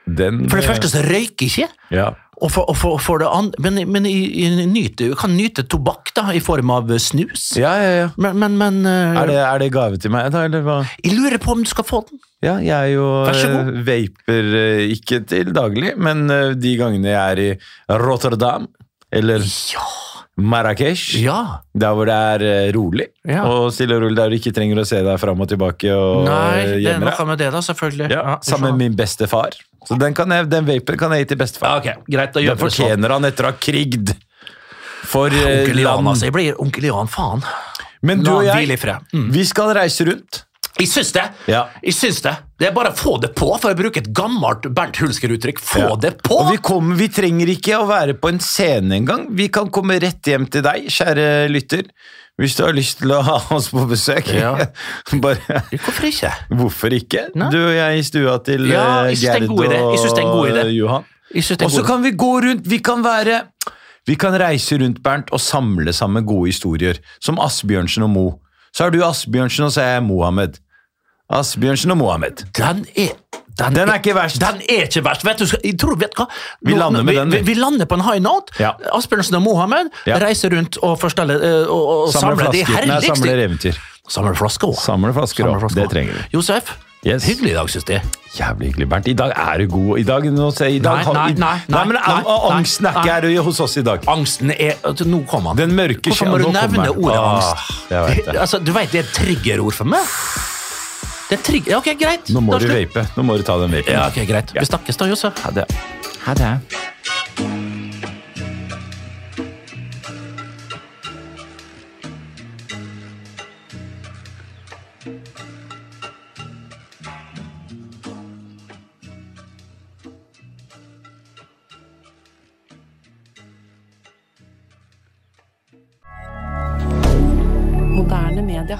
Den For det eh, første så røyker jeg ikke, Ja. og for, og for, for det andre Men, men jeg, jeg, nyter, jeg kan nyte tobakk da, i form av eh, snus. Ja, ja, ja. Men, men, men eh, Er det, er det gave til meg, da, eller hva? jeg lurer på om du skal få den. Ja, jeg er jo Vær så god. eh, vaper eh, ikke til daglig, men eh, de gangene jeg er i Rotterdam eller Ja! Marrakech, ja. der hvor det er eh, rolig Ja. og stille og rolig, der du ikke trenger å se deg fram og tilbake og Nei, det er gjemme noe deg. med det, da, selvfølgelig. Ja, Ja, sammen med min beste far. Så den, kan jeg, den vapen kan jeg gi til Ja, bestefar. ok, Greit, da gjør Den vi det sånn. fortjener han etter å ha krigd for eh, Onkel Jan, land. altså. Jeg blir onkel Jan, faen. Men La du og han jeg, hvile i fred. Mm. vi skal reise rundt. Jeg syns det. Ja. Jeg syns det. Det er bare å få det på, for å bruke et gammelt Bernt Hulsker-uttrykk. Få Ja. det på! Og vi, kommer, vi trenger ikke å være på en scene engang. Vi kan komme rett hjem til deg, kjære lytter, hvis du har lyst til å ha oss på besøk. Ja. Bare, Hvorfor ikke? hvorfor ikke? Nei. Du og jeg i stua til Ja, eh, jeg synes det er en Gerd god idé. Jeg synes det er en god og idé. Johan. Jeg synes det Og er så god. kan vi gå rundt, vi kan være Vi kan reise rundt, Bernt, og samle sammen gode historier. Som Asbjørnsen og Mo. Så har du Asbjørnsen, og så er jeg Mohammed. Asbjørnsen og Mohammed. Den er Den er ikke verst. Den er ikke verst. Vet du, skal- jeg tror, vet du hva? Vi Nå- lander med vi, den, vi. Vi, vi lander på en high note. Ja. Asbjørnsen og Mohammed Ja. reiser rundt og, forsteller, eh, og, og Samle samler de flasker. Nei, samle herligste eventyr. Samler flasker òg. Samle flasker òg. Det trenger vi. Josef, Yes. hyggelig i dag, syns jeg. Jævlig hyggelig, Bernt. I dag er du god. I dag, nå, ser jeg- i dag Nei, har- nei, i- nei, nei, nei, men nei, å- å- nei, Angsten er ikke nei. her hos oss i dag. Angsten er at Nå kom han. Den mørke Hvorfor skyen- må du nå kommer nevne den. ordet Ah, angst? jeg vet det. Altså, du vet, det er et triggerord for meg. Det er trigger... Ja, ok, greit. Nå Da må du slutt. vape. Nå må du ta den vapen. Ja, ok, greit. Vi snakkes da, Josef. Ha det. Ha det. Moderne media.